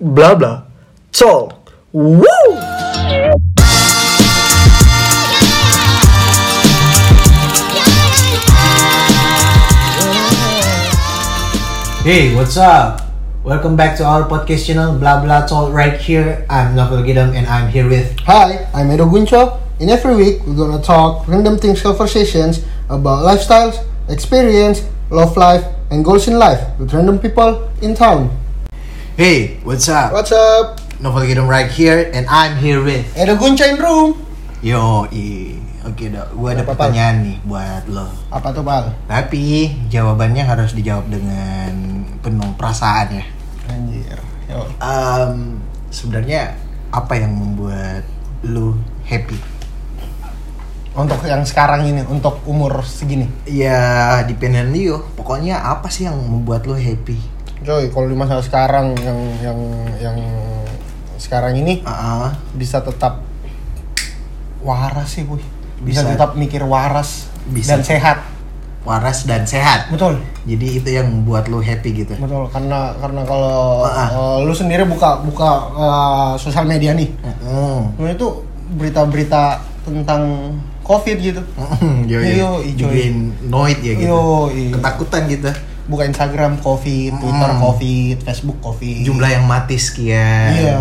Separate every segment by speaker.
Speaker 1: bla bla talk. Woo!
Speaker 2: Hey, what's up? Welcome back to our podcast channel, Blah Blah Talk. Right here, I'm Novel Gidam, and I'm here with.
Speaker 3: Hi, I'm Edo Guncho, and every week we're gonna talk random things conversations about lifestyles, experience, love life, and goals in life with random people in town.
Speaker 2: Hey, what's up?
Speaker 3: What's up?
Speaker 2: Novel Gidam right here, and I'm here with.
Speaker 3: Edo Guncho in room.
Speaker 2: Yo, i. Oke, dok. Gue ada
Speaker 3: Apa, Pal?
Speaker 2: pertanyaan nih buat lo.
Speaker 3: Apa tuh pal?
Speaker 2: Tapi jawabannya harus dijawab dengan penuh perasaan ya.
Speaker 3: Anjir. Yo.
Speaker 2: Em, Sebenarnya apa yang membuat lo happy?
Speaker 3: Untuk yang sekarang ini, untuk umur segini.
Speaker 2: Ya, dependen lo. Pokoknya apa sih yang membuat lo happy?
Speaker 3: Joy, kalau di masa sekarang yang yang yang sekarang ini
Speaker 2: Ah, ah.
Speaker 3: bisa tetap waras sih, Boy. Bisa,
Speaker 2: Bisa.
Speaker 3: tetap mikir waras
Speaker 2: Bisa.
Speaker 3: dan sehat.
Speaker 2: waras dan sehat.
Speaker 3: Betul.
Speaker 2: Jadi itu yang membuat lo happy gitu.
Speaker 3: betul karena karena kalau
Speaker 2: Ah.
Speaker 3: eh, lu sendiri buka buka eh, sosial media nih
Speaker 2: Ah. Mm-mm.
Speaker 3: lu itu berita-berita tentang covid gitu
Speaker 2: Mm-mm. Yo, yo.
Speaker 3: Yo, yo.
Speaker 2: Bikin noid ya Ah, gitu.
Speaker 3: Yo, yo.
Speaker 2: Ketakutan gitu.
Speaker 3: buka Instagram covid Twitter
Speaker 2: Hmm.
Speaker 3: covid Facebook covid
Speaker 2: Jumlah yang mati sekian.
Speaker 3: Iya.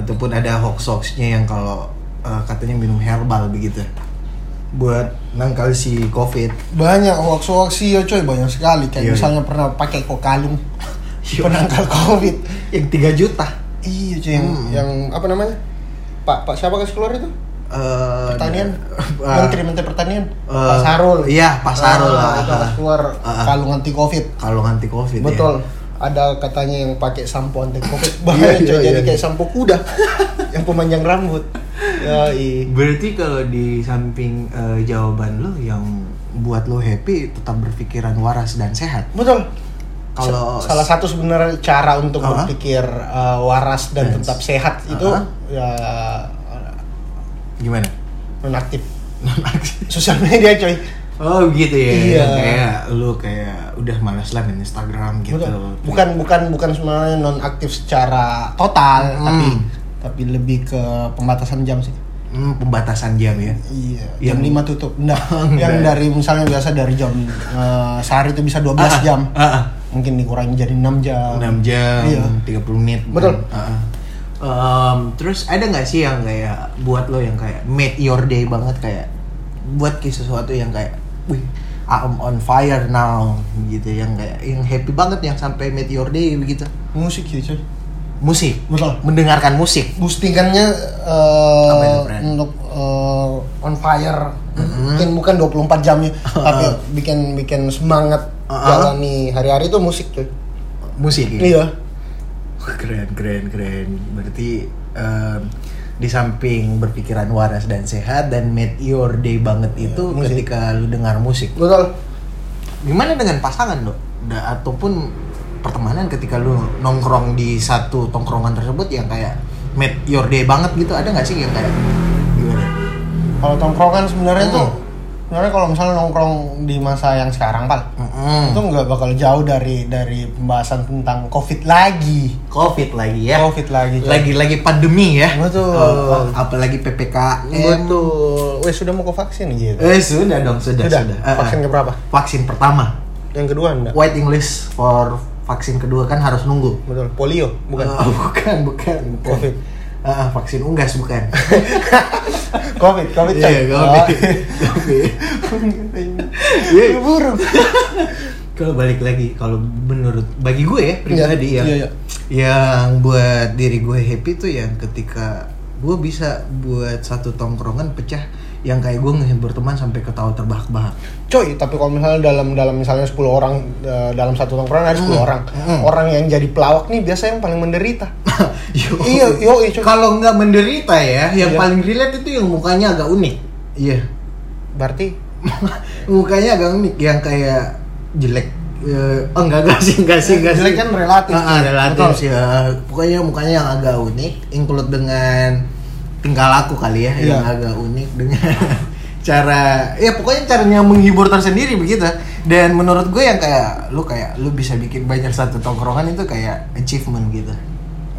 Speaker 2: Ataupun ada hoax hoaxnya yang kalau eh, katanya minum herbal begitu. Buat nangkal si covid.
Speaker 3: banyak hoax hoax sih ya coy banyak sekali kayak
Speaker 2: Iya,
Speaker 3: misalnya pernah pakai kokalung
Speaker 2: Yo.
Speaker 3: penangkal covid
Speaker 2: Yang 3 juta.
Speaker 3: iya coy yang,
Speaker 2: Hmm.
Speaker 3: yang apa namanya pak pak siapa kasih keluar itu
Speaker 2: Eh,
Speaker 3: pertanian
Speaker 2: eh,
Speaker 3: menteri menteri pertanian
Speaker 2: eh,
Speaker 3: pak Sarul
Speaker 2: Iya, Pak Sarul
Speaker 3: Ah,
Speaker 2: lah.
Speaker 3: itu harus keluar
Speaker 2: Ah.
Speaker 3: kalung anti covid
Speaker 2: Kalau anti covid ya.
Speaker 3: Betul. Ada katanya yang pakai sampo anti covid
Speaker 2: Iya,
Speaker 3: bahaya
Speaker 2: iya,
Speaker 3: coy, jadi
Speaker 2: iya.
Speaker 3: kayak sampo kuda yang pemanjang rambut. Ya, i.
Speaker 2: Berarti kalau di samping eh, jawaban lo yang buat lo happy tetap berpikiran waras dan sehat.
Speaker 3: Betul.
Speaker 2: Kalau
Speaker 3: Sa- salah satu sebenarnya cara untuk
Speaker 2: Oh, Aha.
Speaker 3: berpikir eh, waras dan
Speaker 2: Yes.
Speaker 3: tetap sehat itu
Speaker 2: Aha.
Speaker 3: ya
Speaker 2: gimana?
Speaker 3: nonaktif sosial media coy.
Speaker 2: oh gitu ya.
Speaker 3: Iya.
Speaker 2: Kayak lo kayak udah malas lah main Instagram gitu.
Speaker 3: Betul. Bukan bukan bukan sebenarnya nonaktif secara total
Speaker 2: Hmm.
Speaker 3: tapi tapi lebih ke pembatasan jam sih.
Speaker 2: Hmm, pembatasan jam ya.
Speaker 3: Iya,
Speaker 2: Yang-
Speaker 3: jam 5 tutup. Nah,
Speaker 2: enggak.
Speaker 3: yang dari misalnya biasa dari jam eh, sehari itu bisa 12
Speaker 2: Ah,
Speaker 3: jam.
Speaker 2: ah, ah.
Speaker 3: Mungkin dikurangi jadi 6 jam.
Speaker 2: 6 jam,
Speaker 3: Iya.
Speaker 2: 30 menit.
Speaker 3: Betul.
Speaker 2: Ah, ah. Em, terus ada nggak sih yang kayak buat lo yang kayak made your day banget kayak buat kayak sesuatu yang kayak wih I'm on fire now gitu yang kayak yang happy banget yang sampai made your day begitu.
Speaker 3: Musik sih, coy.
Speaker 2: Musik,
Speaker 3: Betul.
Speaker 2: mendengarkan musik.
Speaker 3: Boostingannya eh,
Speaker 2: Apa itu, Fred? Hmm.
Speaker 3: untuk eh, on fire. Mungkin bukan 24 jamnya, ya.
Speaker 2: Ah,
Speaker 3: tapi bikin bikin semangat
Speaker 2: Uh-uh.
Speaker 3: jalani hari-hari itu musik, coy.
Speaker 2: Musik. ya?
Speaker 3: Iya.
Speaker 2: Keren, keren, keren. Berarti em, di samping berpikiran waras dan sehat dan made your day banget itu
Speaker 3: Iya, musik.
Speaker 2: ketika lu dengar musik.
Speaker 3: Betul.
Speaker 2: Gimana dengan pasangan lo? Da- ataupun pertemanan ketika lu nongkrong di satu tongkrongan tersebut yang kayak made your day banget gitu ada nggak sih yang kayak gimana?
Speaker 3: Kalau tongkrongan sebenarnya
Speaker 2: Hmm.
Speaker 3: tuh sebenarnya kalau misalnya nongkrong di masa yang sekarang, Pal,
Speaker 2: Mm-mm.
Speaker 3: itu nggak bakal jauh dari dari pembahasan tentang covid lagi
Speaker 2: Covid lagi ya.
Speaker 3: covid lagi coy.
Speaker 2: Lagi-lagi pandemi ya.
Speaker 3: Betul.
Speaker 2: Oh, apalagi PPKM.
Speaker 3: betul wes sudah mau ke vaksin gitu
Speaker 2: Eh sudah dong, sudah sudah.
Speaker 3: Sudah.
Speaker 2: Ah, ah.
Speaker 3: Vaksin keberapa?
Speaker 2: Vaksin pertama.
Speaker 3: yang kedua enggak
Speaker 2: White English for vaksin kedua kan harus nunggu.
Speaker 3: betul polio bukan
Speaker 2: Ah, bukan, bukan, bukan.
Speaker 3: Covid.
Speaker 2: Ah, ah, vaksin unggas bukan.
Speaker 3: covid covid coy.
Speaker 2: Iya,
Speaker 3: Oh.
Speaker 2: covid. Covid. Iya.
Speaker 3: Iya, burung
Speaker 2: Kalau balik lagi, kalau menurut bagi gue ya pribadi
Speaker 3: Iya,
Speaker 2: yang
Speaker 3: iya, iya.
Speaker 2: yang buat diri gue happy tuh yang ketika gue bisa buat satu tongkrongan pecah yang kayak gue ngehibur teman sampai ketawa terbahak-bahak.
Speaker 3: coy tapi kalau misalnya dalam dalam misalnya 10 orang eh, dalam satu tongkrongan ada 10 orang
Speaker 2: Hmm.
Speaker 3: orang yang jadi pelawak nih biasa yang paling menderita
Speaker 2: Yo.
Speaker 3: Iya, yo, iya, cuy.
Speaker 2: Kalau nggak menderita ya, yang
Speaker 3: Iya.
Speaker 2: paling relate itu yang mukanya agak unik. Iya.
Speaker 3: berarti
Speaker 2: mukanya agak unik yang kayak jelek. Eh, oh enggak enggak sih, enggak sih, enggak sih.
Speaker 3: Jelek kan relatif.
Speaker 2: Ah, ah, relatif
Speaker 3: Betul.
Speaker 2: sih. ah. Pokoknya mukanya yang agak unik, include dengan tingkah laku kali ya,
Speaker 3: Iya.
Speaker 2: yang agak unik dengan cara ya pokoknya caranya menghibur tersendiri begitu dan menurut gue yang kayak lu kayak lu bisa bikin banyak satu tongkrongan itu kayak achievement gitu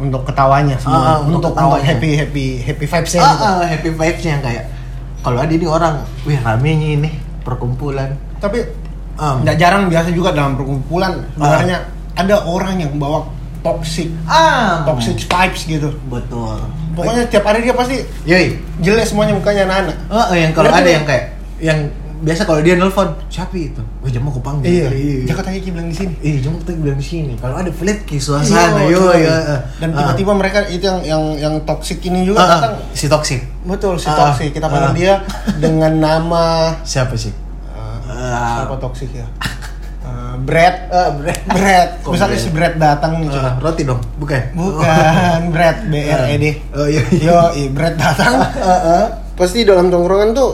Speaker 3: untuk ketawanya
Speaker 2: Ah,
Speaker 3: semua
Speaker 2: ah,
Speaker 3: untuk,
Speaker 2: untuk
Speaker 3: untuk,
Speaker 2: ketawanya.
Speaker 3: happy happy happy vibesnya
Speaker 2: Ah,
Speaker 3: gitu.
Speaker 2: ah, happy vibes-nya kayak kalau ada nih orang, wih rame nih ini perkumpulan.
Speaker 3: tapi
Speaker 2: Um,
Speaker 3: nggak jarang biasa juga dalam perkumpulan sebenarnya ada orang yang bawa toxic
Speaker 2: ah,
Speaker 3: toxic vibes gitu
Speaker 2: betul.
Speaker 3: pokoknya tiap hari dia pasti
Speaker 2: Yoi,
Speaker 3: jelek semuanya mukanya anak-anak
Speaker 2: Oh, yang kalau
Speaker 3: Ngerti
Speaker 2: ada
Speaker 3: nggak?
Speaker 2: yang kayak yang biasa kalau dia nelpon, siapa itu? Oh, jamu kupang.
Speaker 3: iya
Speaker 2: Iya,
Speaker 3: Jakarta Hiki bilang di sini
Speaker 2: Iya, jamu kupang bilang di sini. Kalau ada flat ke suasana, eh, yo,
Speaker 3: Iya, betul.
Speaker 2: yo.
Speaker 3: dan
Speaker 2: Ah,
Speaker 3: tiba-tiba mereka itu yang yang yang toxic ini juga datang
Speaker 2: si toxic.
Speaker 3: betul si
Speaker 2: Ah,
Speaker 3: toxic kita
Speaker 2: ah.
Speaker 3: panggil dia dengan nama
Speaker 2: Siapa sih?
Speaker 3: eh,
Speaker 2: Ah.
Speaker 3: siapa toxic ya Eh, Brad
Speaker 2: Eh, Brad.
Speaker 3: Brad
Speaker 2: Kok
Speaker 3: misalnya
Speaker 2: Brad?
Speaker 3: si Brad datang gitu. nih coba
Speaker 2: Eh, roti dong, bukan?
Speaker 3: bukan Brad B R E D
Speaker 2: Oh, iya.
Speaker 3: yo i Brad datang Ah, pasti dalam tongkrongan tuh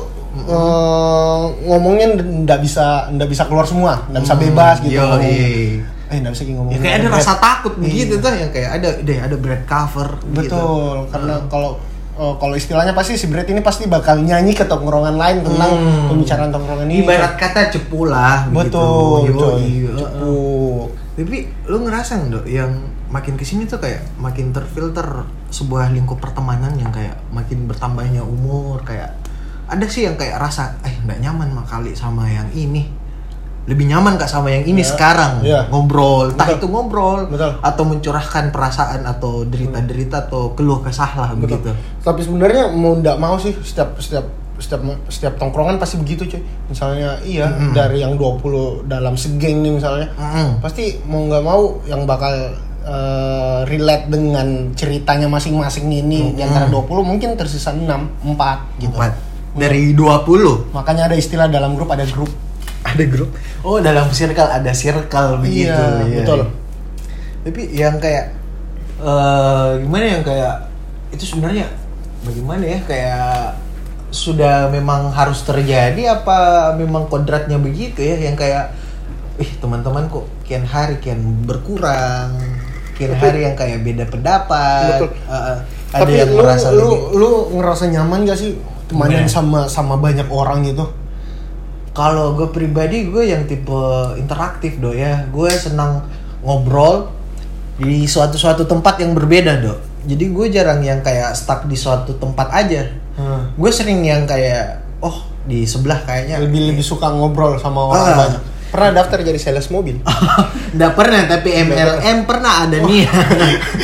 Speaker 3: eh, ngomongnya ndak bisa ndak bisa keluar semua ndak bisa bebas gitu
Speaker 2: yo,
Speaker 3: ngomong.
Speaker 2: iya.
Speaker 3: eh ndak bisa ngomong
Speaker 2: Ya, kayak ada rasa takut begitu tuh yang kayak ada deh ada bread cover gitu.
Speaker 3: Iya. Betul, karena kalau eh, kalau istilahnya pasti si Brad ini pasti bakal nyanyi ke tongkrongan lain tentang
Speaker 2: Hmm.
Speaker 3: pembicaraan tongkrongan ini.
Speaker 2: Ibarat kata gitu. cepu lah begitu.
Speaker 3: betul,
Speaker 2: Yo,
Speaker 3: coy.
Speaker 2: iya, eh, eh.
Speaker 3: Cepuk.
Speaker 2: Tapi lu ngerasa nggak Dok, yang makin kesini tuh kayak makin terfilter sebuah lingkup pertemanan yang kayak makin bertambahnya umur kayak ada sih yang kayak rasa eh nggak nyaman mah kali sama yang ini lebih nyaman kak sama yang ini sekarang
Speaker 3: Iya.
Speaker 2: ngobrol entah
Speaker 3: Betul.
Speaker 2: itu ngobrol
Speaker 3: Betul.
Speaker 2: atau mencurahkan perasaan atau derita-derita atau keluh kesah lah begitu
Speaker 3: Betul. Tapi sebenarnya mau ndak mau sih setiap setiap setiap setiap tongkrongan pasti begitu cuy. Misalnya iya dari yang 20 dalam segeng nih misalnya.
Speaker 2: Mm-mm.
Speaker 3: Pasti mau nggak mau yang bakal eh, relate dengan ceritanya masing-masing ini di antara 20 mungkin tersisa 6, 4 gitu.
Speaker 2: Empat. dari 20
Speaker 3: Makanya ada istilah dalam grup ada grup.
Speaker 2: ada grup oh dalam circle ada circle begitu
Speaker 3: Iya, betul.
Speaker 2: tapi yang kayak eh gimana yang kayak itu sebenarnya bagaimana ya kayak sudah memang harus terjadi apa memang kodratnya begitu ya yang kayak ih teman-teman kok kian hari kian berkurang kian hari yang kayak beda pendapat
Speaker 3: Betul.
Speaker 2: Eh, eh, ada yang
Speaker 3: lu,
Speaker 2: merasa
Speaker 3: lu,
Speaker 2: lebih-
Speaker 3: lu ngerasa nyaman gak sih temenan
Speaker 2: Gimana?
Speaker 3: sama sama banyak orang gitu?
Speaker 2: Kalau gue pribadi gue yang tipe interaktif do ya, gue senang ngobrol di suatu-suatu tempat yang berbeda do. Jadi gue jarang yang kayak stuck di suatu tempat aja.
Speaker 3: Hmm.
Speaker 2: Gue sering yang kayak oh di sebelah kayaknya.
Speaker 3: Lebih lebih suka ngobrol sama orang
Speaker 2: Ah.
Speaker 3: banyak. Ya. Ah. Pernah daftar jadi sales mobil?
Speaker 2: Nggak pernah tapi MLM pernah ada nih.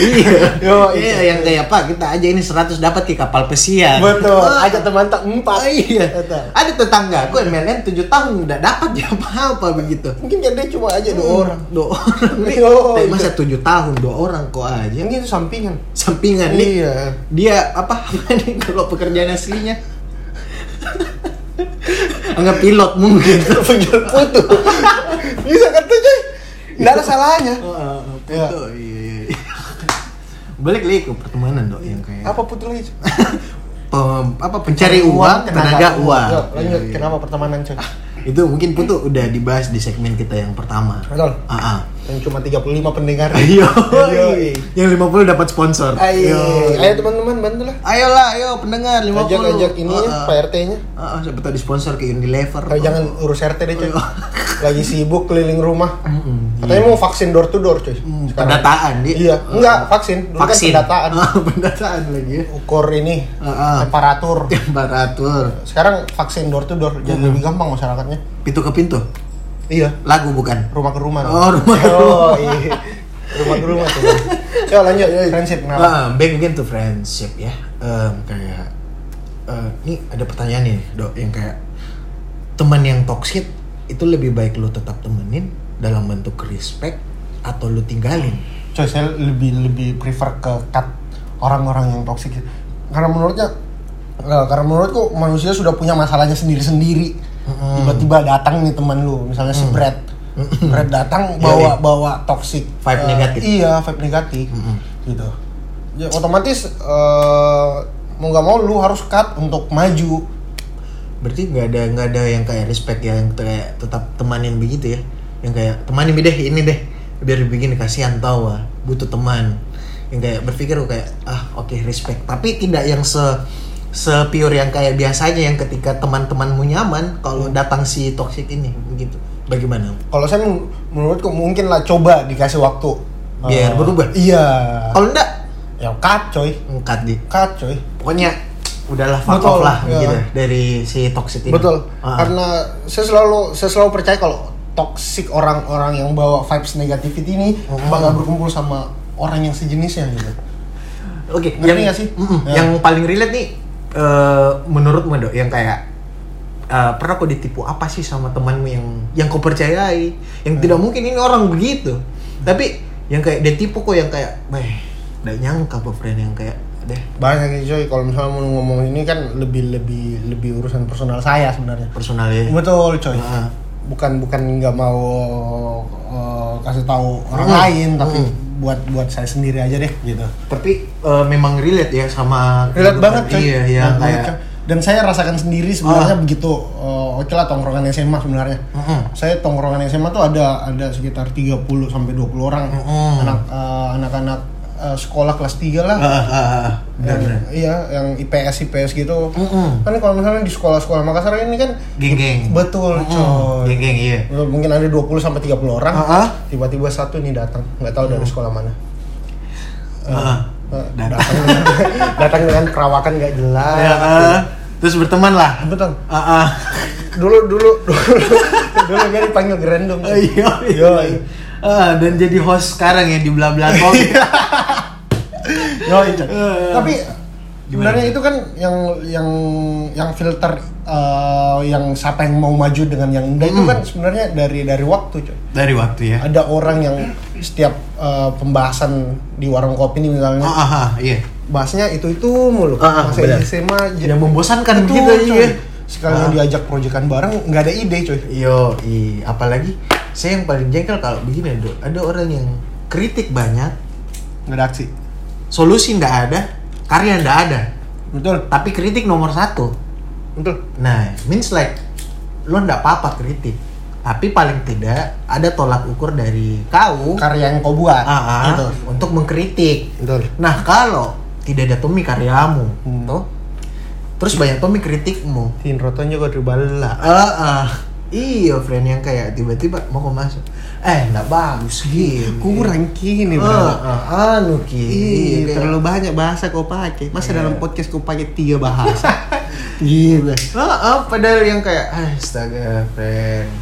Speaker 2: iya.
Speaker 3: Oh. Yo,
Speaker 2: iya yang kayak pak kita aja ini 100 dapat ke kapal pesiar.
Speaker 3: Betul.
Speaker 2: Ah,
Speaker 3: Ajak teman tak empat.
Speaker 2: ah, iya.
Speaker 3: Eta.
Speaker 2: Ada tetangga gue MLM 7 tahun nggak dapat ya apa-apa begitu.
Speaker 3: Mungkin jadi cuma aja Hmm. dua orang.
Speaker 2: dua orang nih
Speaker 3: Yo,
Speaker 2: Tapi
Speaker 3: iya.
Speaker 2: masa tujuh tahun dua orang kok aja
Speaker 3: Mungkin itu sampingan.
Speaker 2: sampingan nih
Speaker 3: Iya.
Speaker 2: dia apa nih kalau pekerjaan aslinya anggap pilot mungkin
Speaker 3: Penjual putu. Bisa kata cuy. Nggak ada salahnya.
Speaker 2: Oh,
Speaker 3: Iya.
Speaker 2: iya. iya, iya. balik lagi ke pertemanan dok yang kayak
Speaker 3: Apa putu lagi? Cuy?
Speaker 2: Pem- apa pencari uang tenaga uang
Speaker 3: Yo, Lanjut.
Speaker 2: Iya, iya.
Speaker 3: Kenapa pertemanan cuy?
Speaker 2: itu mungkin putu udah dibahas di segmen kita yang pertama
Speaker 3: Betul.
Speaker 2: ah ah.
Speaker 3: Yang cuma 35 pendengar.
Speaker 2: Ayo,
Speaker 3: Yoi.
Speaker 2: yang 50 dapat sponsor.
Speaker 3: Ayo, Iya. ayo teman-teman bantulah.
Speaker 2: Ayolah, ayo pendengar 50.
Speaker 3: ajak ajak ini ya,
Speaker 2: Heeh.
Speaker 3: Pak RT-nya.
Speaker 2: Heeh, siapa tahu disponsor ke Unilever.
Speaker 3: Tapi jangan urus RT deh cuy. Lagi sibuk keliling rumah. Katanya mau vaksin door to door cuy.
Speaker 2: Hmm,
Speaker 3: Sekarang.
Speaker 2: pendataan dia.
Speaker 3: Iya, enggak vaksin. Dulu
Speaker 2: Vaksin.
Speaker 3: kan pendataan.
Speaker 2: Ah, pendataan lagi ya.
Speaker 3: Ukur ini
Speaker 2: Ah, ah.
Speaker 3: temperatur.
Speaker 2: Temperatur.
Speaker 3: Sekarang vaksin door to door jadi lebih gampang masyarakatnya.
Speaker 2: Pintu ke pintu.
Speaker 3: Iya,
Speaker 2: Lagu bukan.
Speaker 3: rumah ke rumah.
Speaker 2: Oh, rumah ke
Speaker 3: Oh, iya. Rumah ke rumah tuh. Yo lanjut, yo, friendship kenapa?
Speaker 2: Ah, back again to friendship ya. Em, kayak eh, ini ada pertanyaan nih, Dok, yang kayak teman yang toksik itu lebih baik lu tetap temenin dalam bentuk respect atau lu tinggalin.
Speaker 3: Coy, saya lebih lebih prefer ke cut orang-orang yang toksik karena menurutnya eh, karena menurutku manusia sudah punya masalahnya sendiri-sendiri tiba-tiba datang nih teman lu misalnya si Brad Brad datang bawa bawa toksik
Speaker 2: Vibe
Speaker 3: Eh,
Speaker 2: negatif.
Speaker 3: iya vibe negatif gitu ya otomatis eh, mau nggak mau lu harus cut untuk maju
Speaker 2: berarti nggak ada nggak ada yang kayak respect ya, yang kayak tetap temanin begitu ya yang kayak temanin deh ini deh biar begini kasihan tau ah, butuh teman yang kayak berpikir oh, kayak ah oke respect tapi tidak yang se sepiur yang kayak biasanya yang ketika teman-temanmu nyaman kalau datang si toxic ini begitu bagaimana
Speaker 3: kalau saya men- menurutku mungkin lah coba dikasih waktu
Speaker 2: Biar
Speaker 3: Eh,
Speaker 2: berubah?
Speaker 3: iya
Speaker 2: kalau enggak
Speaker 3: ya cut coy
Speaker 2: Engkat di.
Speaker 3: cut coy
Speaker 2: Pokoknya udahlah fuck
Speaker 3: Betul,
Speaker 2: off lah
Speaker 3: iya.
Speaker 2: gitu dari si toxic ini.
Speaker 3: betul
Speaker 2: Ah.
Speaker 3: karena saya selalu saya selalu percaya kalau toxic orang-orang yang bawa vibes negativity ini bakal berkumpul sama orang yang sejenisnya gitu
Speaker 2: Oke,
Speaker 3: Ngerti
Speaker 2: yang
Speaker 3: nggak sih?
Speaker 2: Mm-mm.
Speaker 3: Ya.
Speaker 2: yang paling relate nih eh, menurutmu dok yang kayak eh, pernah kau ditipu apa sih sama temanmu yang yang kau percayai yang
Speaker 3: Ya.
Speaker 2: tidak mungkin ini orang begitu tapi yang kayak dia tipu kok yang kayak weh udah nyangka apa friend yang kayak deh
Speaker 3: banyak sih coy kalau misalnya mau ngomong ini kan lebih lebih lebih urusan personal saya sebenarnya
Speaker 2: personalnya
Speaker 3: betul coy
Speaker 2: Heeh.
Speaker 3: bukan bukan nggak mau eh, kasih tahu orang
Speaker 2: Mm.
Speaker 3: lain tapi
Speaker 2: Mm.
Speaker 3: buat buat saya sendiri aja deh gitu
Speaker 2: tapi eh, memang relate ya sama
Speaker 3: relate
Speaker 2: kehidupan.
Speaker 3: banget coy
Speaker 2: iya ya
Speaker 3: Relate banget,
Speaker 2: kayak
Speaker 3: coy. dan saya rasakan sendiri sebenarnya
Speaker 2: Ah.
Speaker 3: begitu eh, oke lah tongkrongan SMA sebenarnya
Speaker 2: Mm-mm.
Speaker 3: saya tongkrongan SMA tuh ada ada sekitar 30 sampai 20 orang
Speaker 2: Mm-mm.
Speaker 3: anak eh, anak-anak eh, sekolah kelas 3 lah
Speaker 2: Ah, ah, ah, ah.
Speaker 3: yang,
Speaker 2: Benar-benar.
Speaker 3: iya yang IPS IPS gitu
Speaker 2: Mm-mm.
Speaker 3: kan kalau misalnya di sekolah-sekolah Makassar ini kan
Speaker 2: geng-geng
Speaker 3: betul
Speaker 2: Mm-mm.
Speaker 3: coy
Speaker 2: geng-geng iya
Speaker 3: Betul, mungkin ada 20 sampai 30 orang
Speaker 2: Ah, Mm. ah.
Speaker 3: tiba-tiba satu ini datang nggak tahu dari sekolah mana
Speaker 2: Ah.
Speaker 3: Eh, datang dengan, datang dengan perawakan nggak jelas
Speaker 2: Ya, ah. terus berteman lah
Speaker 3: betul
Speaker 2: Ah, ah.
Speaker 3: dulu dulu dulu dulu gue dipanggil gerendong
Speaker 2: Oh, iya, iya. Ah, dan jadi host sekarang ya di bla bla Iya.
Speaker 3: Yo, iya.
Speaker 2: Eh.
Speaker 3: tapi sebenarnya itu kan yang yang yang filter eh, yang siapa yang mau maju dengan yang enggak
Speaker 2: Hmm.
Speaker 3: itu kan sebenarnya dari dari waktu coy
Speaker 2: dari waktu ya.
Speaker 3: ada orang yang setiap eh, pembahasan di warung kopi ini misalnya
Speaker 2: Ah, ah, ah, iya.
Speaker 3: bahasnya itu itu mulu
Speaker 2: Ah, ah,
Speaker 3: masa
Speaker 2: benar.
Speaker 3: SMA j-
Speaker 2: Yang membosankan
Speaker 3: Betul,
Speaker 2: gitu,
Speaker 3: coy.
Speaker 2: iya.
Speaker 3: sekalinya
Speaker 2: Ah.
Speaker 3: diajak proyekan bareng nggak ada ide coy
Speaker 2: Yo, i, apalagi saya yang paling jengkel kalau begini Dok. Ada orang yang kritik banyak,
Speaker 3: nggak ada aksi
Speaker 2: solusi ndak ada, karya ndak ada,
Speaker 3: betul
Speaker 2: tapi kritik nomor satu.
Speaker 3: betul
Speaker 2: Nah, means like lo ndak apa-apa kritik, tapi paling tidak ada tolak ukur dari kau
Speaker 3: karya yang kau buat
Speaker 2: ah, ah,
Speaker 3: gitu
Speaker 2: untuk mengkritik.
Speaker 3: betul
Speaker 2: Nah kalau tidak ada Tommy karyamu,
Speaker 3: Hmm.
Speaker 2: toh, terus banyak Tommy kritikmu.
Speaker 3: tin roton
Speaker 2: Lah,
Speaker 3: juga dribala
Speaker 2: ah, ah. iya friend yang kayak tiba-tiba mau kau masuk, eh nggak bagus gini.
Speaker 3: kurang kini
Speaker 2: Ah,
Speaker 3: bro
Speaker 2: ah, anu ki.
Speaker 3: Ih,
Speaker 2: kayak- gitu.
Speaker 3: terlalu banyak bahasa kau pakai. Masa
Speaker 2: Iya.
Speaker 3: dalam podcast kau pakai tiga bahasa? Iya, Gila.
Speaker 2: Ah, ah, padahal yang kayak astaga friend.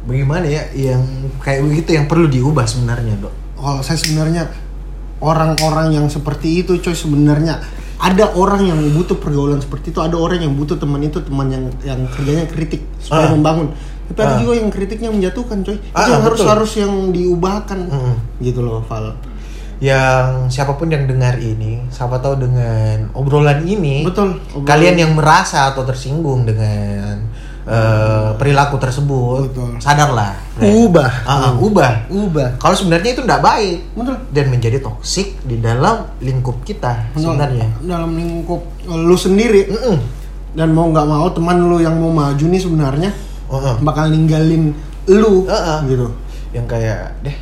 Speaker 2: Bagaimana ya yang kayak begitu yang perlu diubah sebenarnya dok?
Speaker 3: Kalau saya sebenarnya orang-orang yang seperti itu, coy sebenarnya ada orang yang butuh pergaulan seperti itu, ada orang yang butuh teman itu, teman yang yang kerjanya kritik supaya
Speaker 2: Ah.
Speaker 3: membangun. Tapi ada
Speaker 2: Ah.
Speaker 3: juga yang kritiknya menjatuhkan, coy.
Speaker 2: Ah,
Speaker 3: itu yang
Speaker 2: ah,
Speaker 3: harus
Speaker 2: betul.
Speaker 3: harus yang diubahkan.
Speaker 2: Mm-mm.
Speaker 3: Gitu loh, Val.
Speaker 2: Yang siapapun yang dengar ini, siapa tahu dengan obrolan ini,
Speaker 3: Betul, obrolan.
Speaker 2: kalian yang merasa atau tersinggung dengan eh, perilaku tersebut,
Speaker 3: Betul.
Speaker 2: sadarlah, Fred.
Speaker 3: Ubah.
Speaker 2: Ah, ah, ubah.
Speaker 3: Ubah.
Speaker 2: Kalau sebenarnya itu tidak baik
Speaker 3: Betul.
Speaker 2: dan menjadi toksik di dalam lingkup kita sebenarnya.
Speaker 3: dalam lingkup eh, lu sendiri
Speaker 2: Mm-mm.
Speaker 3: dan mau nggak mau teman lu yang mau maju nih sebenarnya
Speaker 2: Uh-uh.
Speaker 3: bakal ninggalin lu
Speaker 2: Uh-uh.
Speaker 3: gitu
Speaker 2: Yang kayak deh,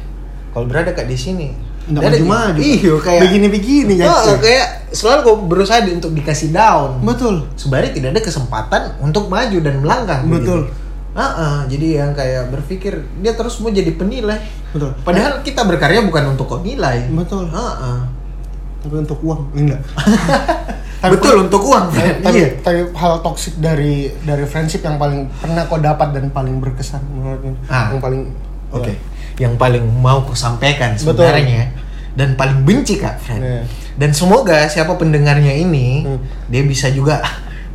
Speaker 2: kalau berada kayak di sini,
Speaker 3: nggak
Speaker 2: ada-
Speaker 3: maju maju
Speaker 2: Iya, kayak
Speaker 3: begini begini kan
Speaker 2: Oh, kayak selalu kok berusaha di- untuk dikasih down.
Speaker 3: betul
Speaker 2: sebenarnya tidak ada kesempatan untuk maju dan melangkah
Speaker 3: Betul.
Speaker 2: begitu. Ah, ah, jadi yang kayak berpikir dia terus mau jadi penilai
Speaker 3: Betul.
Speaker 2: padahal kita berkarya bukan untuk kau nilai
Speaker 3: Betul.
Speaker 2: Ah, ah.
Speaker 3: tapi untuk uang enggak Tapi-
Speaker 2: betul untuk uang
Speaker 3: tapi,
Speaker 2: Fred.
Speaker 3: Eh, tapi,
Speaker 2: iya
Speaker 3: tapi hal toksik dari dari friendship yang paling pernah kau dapat dan paling berkesan menurutmu
Speaker 2: Ah.
Speaker 3: yang paling
Speaker 2: oke yang paling mau ku sampaikan
Speaker 3: Ya. Betul.
Speaker 2: sebenarnya dan paling benci kak Fred
Speaker 3: Iya.
Speaker 2: dan semoga siapa pendengarnya ini
Speaker 3: Hmm.
Speaker 2: dia bisa juga